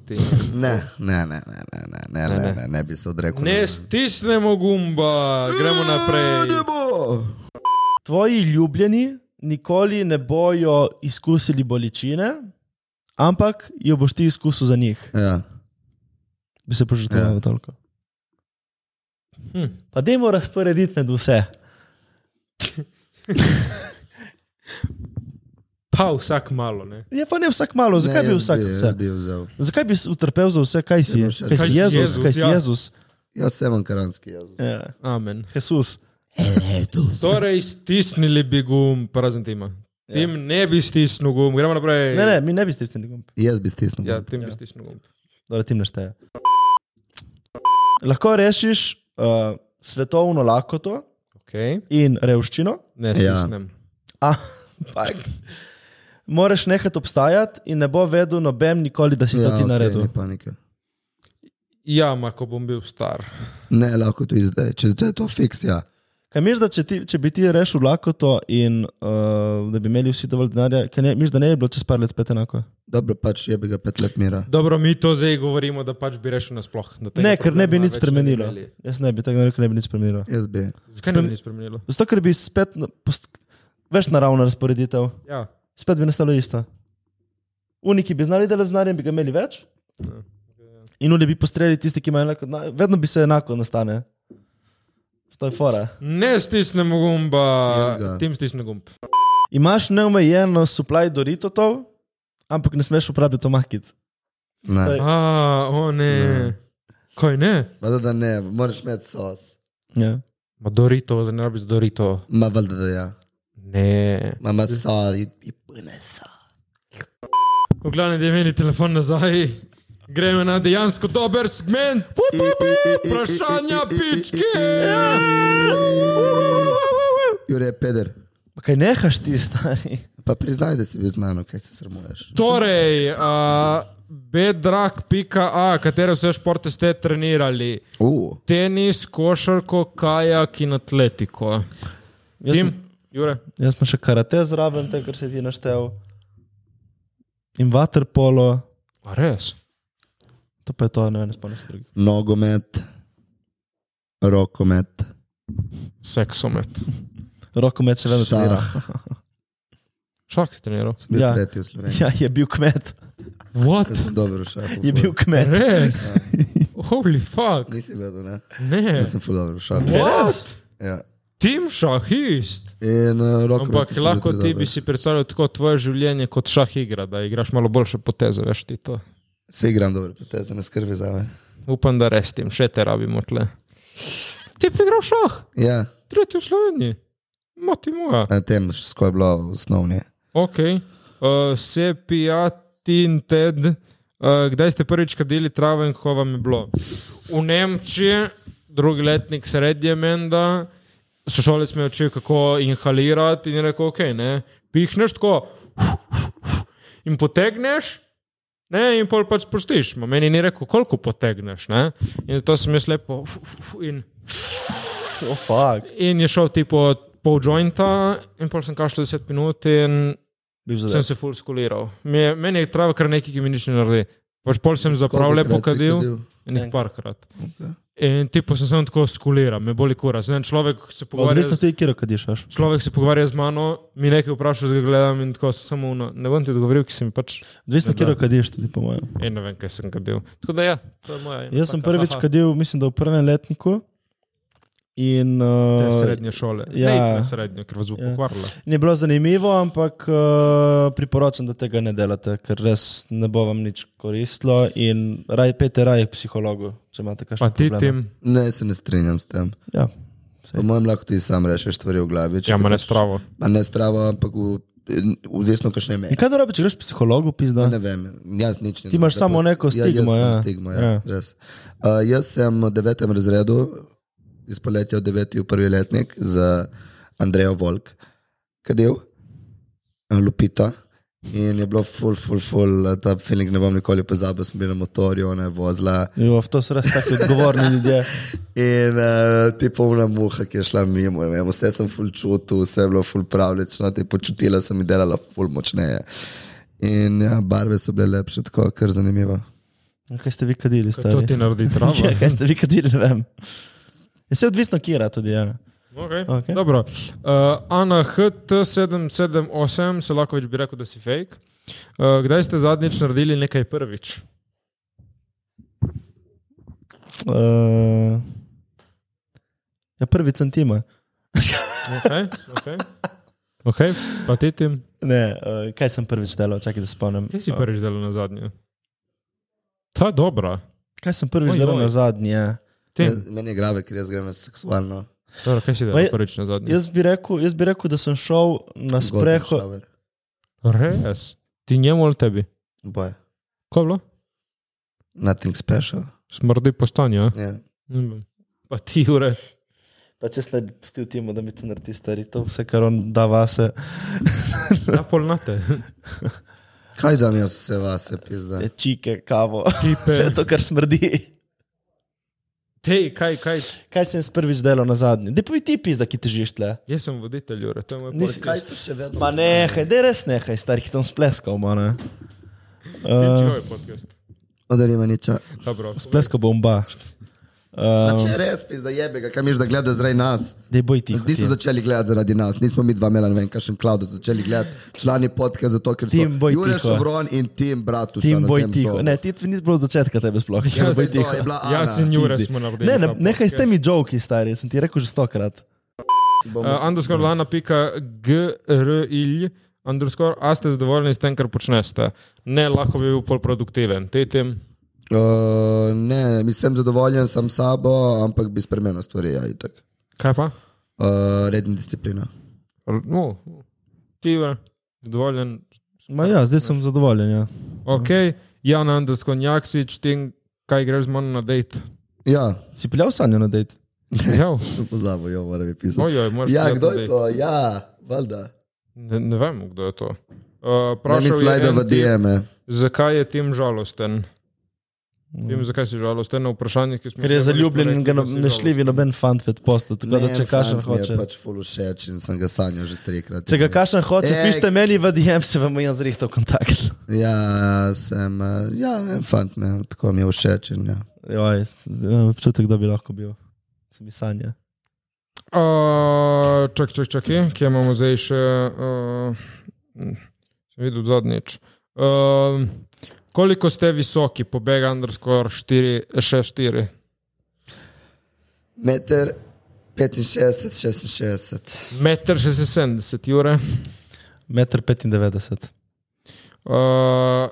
C: ti.
B: Ne, ne, ne, ne, ne, ne, ne, ne, ne, ne bi se odrekel. Ja,
C: Ne stisnemo gumba, gremo naprej.
B: Ne bo.
D: Tvoji ljubljeni nikoli ne bojo izkusili bolečine, ampak jo boš ti izkusil za njih.
B: Ja.
D: bi se požrtvoval
B: Ja.
D: ja. toliko.
C: Hm.
D: Pa dajmo razporediti med vse.
C: Pa vsak malo, ne.
D: Je pa ne vsak malo, zakaj
B: ne,
D: ne, bi
B: jaz
D: vsak
B: bi,
D: vse?
B: Jaz bi jo vzel.
D: Zakaj bi s- utrpel za vse, kaj si?
B: Ne bom še-
D: Kaj si
C: Kaj si
D: Jezus,
C: Jezus,
D: kaj si
C: ja.
D: Jezus?
B: Jaz sem ankaranski jezik.
D: Ja.
C: Amen.
D: Jezus. e,
C: Torej, stisnili bi gumb, razen tima. Tim ja. ne bi stisnil gumb, gremo naprej.
D: Ne, ne, mi ne bi stisnili gumb.
B: Jaz bi stisnil.
C: Ja, tim ja. bi
D: Ja.
C: stisnil gumb.
D: Dobro, tim nešteje. Lahko rešiš uh, svetovno lakoto
C: Okay.
D: in revščino,
C: Ne
B: Ja.
C: stisnem.
D: ampak moraš nehati obstajati in ne bo vedel noben nikoli, da si ja, to ti
B: okej,
D: okay, naredil.
B: ni panike.
C: Ja, ma ko bom bil star.
B: Ne, lahko to izdaj. Če to je to fiks, ja.
D: Kaj misliš, da če, ti, če bi ti rešil lakoto in uh, da bi imeli vsi dovolj denarja, kaj ne- misliš, da ne bi bilo čez par let spet enako?
B: Dobro, pač je bi ga pet let mira.
C: Dobro, mi to zdaj govorimo, da pač bi rešil nasploh. da tega
D: Ne, ker ne bi
C: problema
D: nič
C: več
D: spremenilo.
C: Ne bi imeli.
D: Jaz ne bi tega rekel, ne bi nič spremenilo.
B: Jaz bi.
C: Zakaj ne bi nič spremenilo?
D: Zato, ker bi spet na- post- več naravna razporeditev,
C: Ja,
D: spet bi nastalo isto. Uniki bi znali delati z denarjem, bi ga imeli več. Ja. In uni bi postrelili tisti, ki imajo enako, denarja. vedno bi se enako nastane. To je fora.
C: ne stisnemo
B: Jaz
C: gumba,
B: ga.
C: tim stisne gumb.
D: Imaš neomejeno supply doritotov, ampak ne smeš uporabljati omakic.
B: Ne.
D: Torej-
C: A, o ne. ne. Kaj ne?
B: Vada da ne, moraš imeti sos.
D: Ja.
C: Ma Dorito, zdaj ne rabiš Dorito.
B: Ma valjda da ja.
C: Ne.
B: Ma ima sos, i pune sos.
C: V glavnem, da je meni telefon nazaj. Gremo na dejansko dober segment. Vprašanja, pičke.
B: Jure je peder.
D: Pa Kaj nehaš ti, stari?
B: Pa priznaj, da si bil z mano, kaj se sramuješ.
C: Torej, uh, bedrak.a, katere vse športe ste trenirali?
B: Uh,
C: Tenis, košarko, kajak in atletiko.
D: Jaz
C: Tim,
D: sem-
C: Jure,
D: Jaz sem še karate zraven, te, kar se ti naštel. In waterpolo,
C: a res?
D: to pa je to, ne, vem, ne spomnim se drugih.
B: nogomet, rokomet,
C: Seksomet.
D: Rokomet še vedno trenira.
B: šah.
C: Šak si treniral.
B: Sem bil
D: Ja.
B: tretji v Sloveniji.
D: Ja, je bil kmet.
C: What?
B: Jaz sem dober v šahu.
D: Je bil kmet.
C: Res? Holy fuck.
B: Nisi vedel, ne?
C: Ne.
B: Jaz sem full dobro v šahu.
C: What?
B: Ja.
C: Tim šahist.
B: In uh, rokomet.
C: Ampak
B: sem bil
C: lahko
B: tudi
C: ti
B: dober.
C: bi si predstavljal tako tvoje življenje kot šah igra, da igraš malo boljše poteze, veš ti to.
B: Se igram dobro, poteze ne skrbi za me.
C: Upam, da res tim, še te rabimo tle. Ti bi igral šah,
B: Ja,
C: tretji v Sloveniji, mati moja.
B: na tem, e ko je bilo v osnovni.
C: Ok, uh, se pijati in ted, uh, kdaj ste prvič kadili travo in ko vam je bilo? V Nemčiji, drugi letnik srednje menda, sošolec me je učil, kako inhalirati in je rekel, ok, ne, pihneš tako in potegneš. Ne, in pol pač spustiš. Ma Meni ni rekel, koliko potegneš. Ne? In zato sem jaz lepo in
D: [LAUGHS] Oh, fuck.
C: In je šel tipo pol jointa, in pol sem kašljal 10 minut, in
D: Bil
C: sem
D: zadev.
C: se full skuliral. Mi je- Meni je trava kar nekaj, ki mi nič ne naredi. Pač pol sem zaprav lepo
B: Kolikokrat si
C: kadil,
B: kadil?
C: enih parkrat. In ti pa sem samo tako skuliral, me boli kura. Zdaj, človek se pogovarja.
D: Odvisno
C: z-
D: tudi, kje kadiš, veš.
C: Človek se pogovarja z mano, mi nekaj vpraša, zdaj ga gledam in tako se samo uno. Ne bom ti odgovoril, ki sem pač Ne,
D: Odvisno,
C: da.
D: kje kadiš, tudi po mojem.
C: en ne vem, kaj sem kadil. Tako da ja, to je moja. ena
D: Jaz sem
C: taka,
D: prvič
C: aha,
D: kadil, mislim, da v prvem letniku. In,
C: te
D: uh,
C: Srednje šole.
D: Ja.
C: Ja, ne, na srednjo, ker vas bo
D: Ja.
C: pokvarila.
D: ni bilo zanimivo, ampak uh, priporočam, da tega ne delate, ker res ne bo vam nič koristilo. In raj pete raj k psihologu, če
C: Pa
D: imate kakšne
C: ti tim,
D: probleme.
B: Ne, se ne strinjam s tem.
D: Ja.
B: Po mojem lahko ti sam rečeš stvari v glavi. če
C: ja, ima
B: ti
C: ne
B: pač-
C: stravo.
B: Ma ne stravo, ampak v, odvisno, kakšne meje.
D: In kaj da robiš, če greš k psihologu, pizda?
B: Ne vem, jaz nič ne
D: Ti imaš
B: znam,
D: samo
B: da
D: neko
B: pos- Ja,
D: stigmo,
B: jaz
D: ja.
B: imam stigmo, ja.
D: Ja.
B: ja. Res. Uh, jaz sem v devetem razredu, iz poletja v deveti v prvi letnik z Andrejo Volk, kadil, eh, Lupita. In je bilo ful, ful, ful, eh, ta feeling ne bom nikoli pozabil, smo bili na motorju, ona je vozila.
D: Jo, v to so res tako odgovorni ljudje.
B: In uh, ti polna muha, ki je šla mimo, ne vem, vse sem ful čutil, vse je bilo ful pravlično, ti počutila sem in delala ful močneje. In ja, barve so bile lepše, tako kar zanimivo.
D: In Kaj ste vi kadili,
C: Kaj To ti
D: stari?
C: naredi travo.
D: [LAUGHS] Ja, kaj ste vi kadili, ne vem. Je se odvisno, kje je tudi. Ja.
C: Okay.
D: Okej.
C: Okay. Dobro. Uh, Ana HT778, Selakovič bi rekel, da si fake. Uh, kdaj ste zadnjič naredili nekaj prvič?
D: Uh, ja, prvi centima.
C: Okay, okay. Okay, pa ti tim.
D: Ne, uh, kaj sem prvič delal, čakaj, da spomnim. Eh,
C: Kaj si prvič delal na zadnje? Ta je dobra.
D: Kaj sem prvič
C: Oj,
D: delal
C: oj.
D: na zadnje?
B: Ja,
C: Tim,
B: meni je grave, ker jaz grem na seksualno.
C: Dobro, kaj si
D: Pa
C: delal
D: je-
C: prvič na zadnje?
D: Jaz bi, rekel, jaz bi rekel, da sem šel na sprehod.
B: Golden shower.
C: Res. Ti njemu ali tebi?
B: Boje.
C: Kaj je bilo?
B: Nothing special. Ja.
C: Smrdi po stanju. a?
B: Yeah.
C: Ne vem. Pa ti ure.
D: Pa če ne bi pustil temu, da mi to naredi stari, to vse, kar on da vase.
C: Ja,
D: [LAUGHS]
C: polnate.
B: Kaj da mi je vse vase, pizda?
D: Te čike, kavo, vse
C: Tipe.
D: to, kar smrdi.
C: Tej, kaj, kaj?
D: Kaj sem jaz prvič delal na zadnji? Dej povej ti pizda, ki težiš tle.
C: Jaz sem voditelj, ure. To je moj
D: Nisi-
C: podcast.
B: ste še vedno?
D: Ma nehaj, dej res nehaj, stari, ki tam spleskal, mana.
C: Tim, čuj podcast.
B: Odari maniča.
C: Dobro.
D: Spleskal bomba.
B: Um,
D: Uh,
B: če res, pizda jebe ga, kaj miš, da gleda zdaj nas.
D: dej boj ti.
B: Niso začeli gledati zaradi nas, nismo mi dva imela, ne vem, kakšen cloud, začeli gledati člani podka, zato ker so
D: Tim, boj
B: Jure
D: tiho.
B: Šovron in Tim Bratuša.
D: Tim
B: na
D: boj
B: tem
D: tiho.
B: šovu.
D: Ne, ti nisi bilo od začetka tebe sploh.
B: Ja,
D: Tim, boj
B: to
D: tiho.
B: je bila Ana.
C: Jaz in Jure Ja,
D: Pizdi.
C: smo naredili.
D: no, Ne, ne,
C: ta
D: nehaj s
C: podcast.
D: temi joki, stari, sem ti rekel že stokrat.
B: Bomo-
C: Uh, underscore lana pika gril, underscore, a ste zadovoljni s tem, kar počnete? Ne, lahko bi bil bolj produktiven. Te tem,
B: Uh, ne, nisem zadovoljen sam s sabo, ampak bi spremenil stvari, ja, itak.
C: kaj pa?
B: Uh, redna disciplina.
C: R- No, ti je zadovoljen.
D: Ma ja, zdaj sem zadovoljen. Ja.
C: Ok, Jan underscore jaksič, tem, kaj greš z mano na dejt.
B: Ja,
D: Si peljal sanjo na dejt?
C: Ja,
B: sem pozabil, jo moram pisati.
C: ojoj, moraš.
B: Ja,
C: gledati
B: kdo
C: na
B: je
C: dejt.
B: to? Ja, valjda.
C: Ne, ne vem, kdo je to.
B: Ne
C: Uh,
B: mi
C: Prašal je
B: slajda
C: en
B: v
C: tip,
B: DM-e.
C: Zakaj je tem žalosten? Tim, zakaj si žalosten na vprašanje, ki smo
D: Mm. Ker
C: ga
D: je
C: imeli,
D: zaljubljen in
C: smo
D: ga
C: rekli,
D: no-
C: da si
D: ne šljivi noben fant pet posto, tako No, da
B: Ne,
D: če kašen
B: fant mi
D: hoče.
B: Je pač full všeč in sem ga sanjal že trikrat.
D: Če ga kašen hoče,
B: Ej.
D: pišite meni v DM, se vam jaz zrihtal kontakt.
B: Ja, sem, eh, ja, en fant me, tako mi je všeč. In, ja.
D: Ja, imam občutek, da bi lahko bil. Se mi sanja.
C: Uh, čak, čak, čak, kje imamo zdaj še? Uh, sem videl zadnjič. Uh, koliko ste visoki, pobega underscore 464?
B: Meter 65, 66.
C: 1,76 m, ure.
D: 1,95 m.
C: Uh,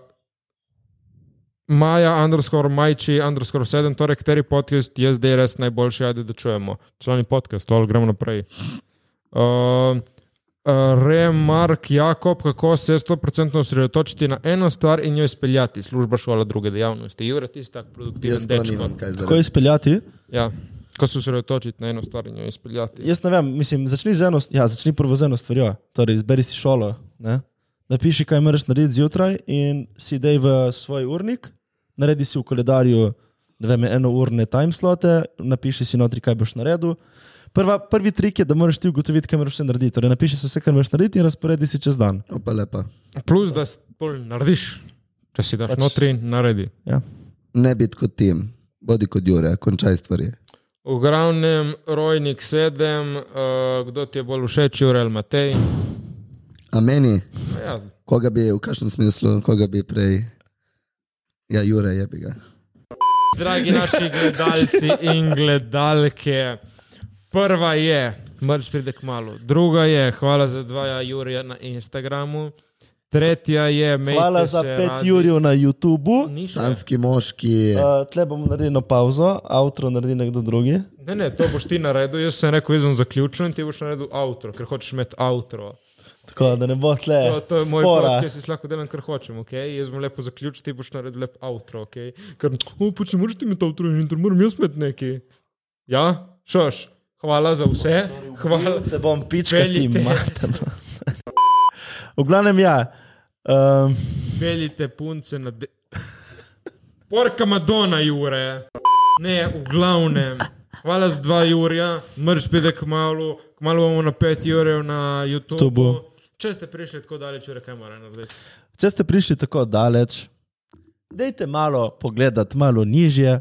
C: Maja, underscore majči, underscore 7, torej kateri podcast je zdaj res najboljši, ajde da čujemo. Člani podcast, ali gremo naprej. Uh, uh, Remark Jakob, kako se 100% osredotočiti na eno stvar in jo izpeljati, služba, šola, druge dejavnosti. Jure, ti si tak
B: Jaz
C: produktiven
B: to
C: dečko.
B: nimam kaj za
D: Kako izpeljati?
C: Ja, kako se osredotočiti na eno stvar in jo izpeljati.
D: Jaz ne vem, mislim, začni, z eno, ja, začni prvo z eno stvarjo. Torej, izberi si šolo. Ne? Napiši, kaj moraš narediti zjutraj, in si dej v svoj urnik, naredi si v koledarju ne vem, enourne timeslote, napiši si notri, kaj boš naredil. Prva, prvi trik je, da moraš ti ugotoviti, kaj moraš vse narediti. Torej, napiši si vse, kar moraš narediti, in razporedi si čez dan.
B: Opa, lepa.
C: Plus, da s- pol narediš, če si daš
D: Pač.
C: notri, naredi.
D: Ja.
B: Ne biti kot tim. Bodi kot Jure, končaj stvari.
C: V glavnem, Rojnik 7, uh, kdo ti je bolj všeč, Jurel Matej?
B: A meni,
C: Ja,
B: koga bi, v kakšnem smislu, koga bi prej. Ja, Jure je bi ga.
C: Dragi naši gledalci in gledalke, prva je, mrč pride k malu, druga je, hvala za dva Jurija na Instagramu, tretja je, mejte
D: Hvala za
C: se
D: pet
C: radi.
D: jurjev na YouTubu.
C: Ni še.
B: Sanski moški.
C: Ja,
D: Uh, tle bomo naredili eno pauzo, avtro naredi nekdo drugi.
C: Ne, ne, to boš ti naredil, jaz sem rekel, jaz bom zaključil in ti boš naredil avtro, ker hočeš imeti avtro.
D: Tako da ne bo tle.
C: To, to je moj
D: Eh, spora.
C: pot, jaz si lahko delam, kar hočem, okay? jaz bom lepo zaključil, ti boš naredil lep avtro, okay? ker oh, pač ne moreš ti imeti avtro in to moram jaz imeti neki. Ja, šoš, hvala za vse, hvala.
D: Te bom pičkal, ti
C: Veljite.
D: materno. V glavnem, ja. Um,
C: Peljite punce na de... Porka Madona, Jure. Ne, v glavnem. Hvala za dva Jurja, mrš pide k malu, k malu bomo na pet Jurjev na YouTube.
D: To bo.
C: Če ste prišli tako daleč, Jure, kaj mora narediti?
D: če ste prišli tako daleč, dajte malo pogledati, malo nižje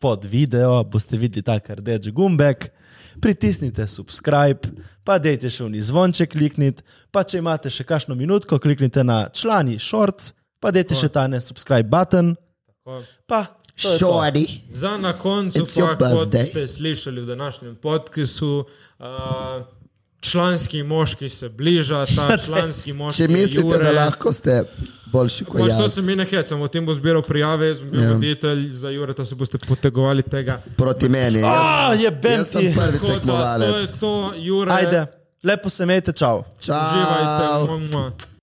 D: pod video, boste videli ta rdeč gumbek. Pritisnite subscribe, pa dejte še v zvonček klikniti, pa če imate še kakšno minutko, kliknite na člani shorts, pa dejte še ta ne subscribe button,
C: Tako.
D: pa to je to.
B: Šori.
C: Za na koncu,
B: It's your
C: pa, kot
B: birthday.
C: ste slišali v današnjem podkastu, uh, članski moški se bliža,
B: [LAUGHS]
C: ta članski moški.
B: Če
C: je
B: mislite,
C: Jure.
B: da lahko ste boljši kot
C: Pač to
B: jaz,
C: se mi ne hecam, o tem bo zbiral prijave, jaz bom bil
B: Ja.
C: voditelj, za Jureta se boste potegovali tega.
B: proti meni. Jaz,
D: Ah, jebem
B: jaz
D: ti.
B: sem prvi
C: Tako da, to je
B: tekmovalec.
C: to, Jure.
D: Ajde, lepo se imejte, čau.
B: Čau.
C: Uživajte. Mua, mua.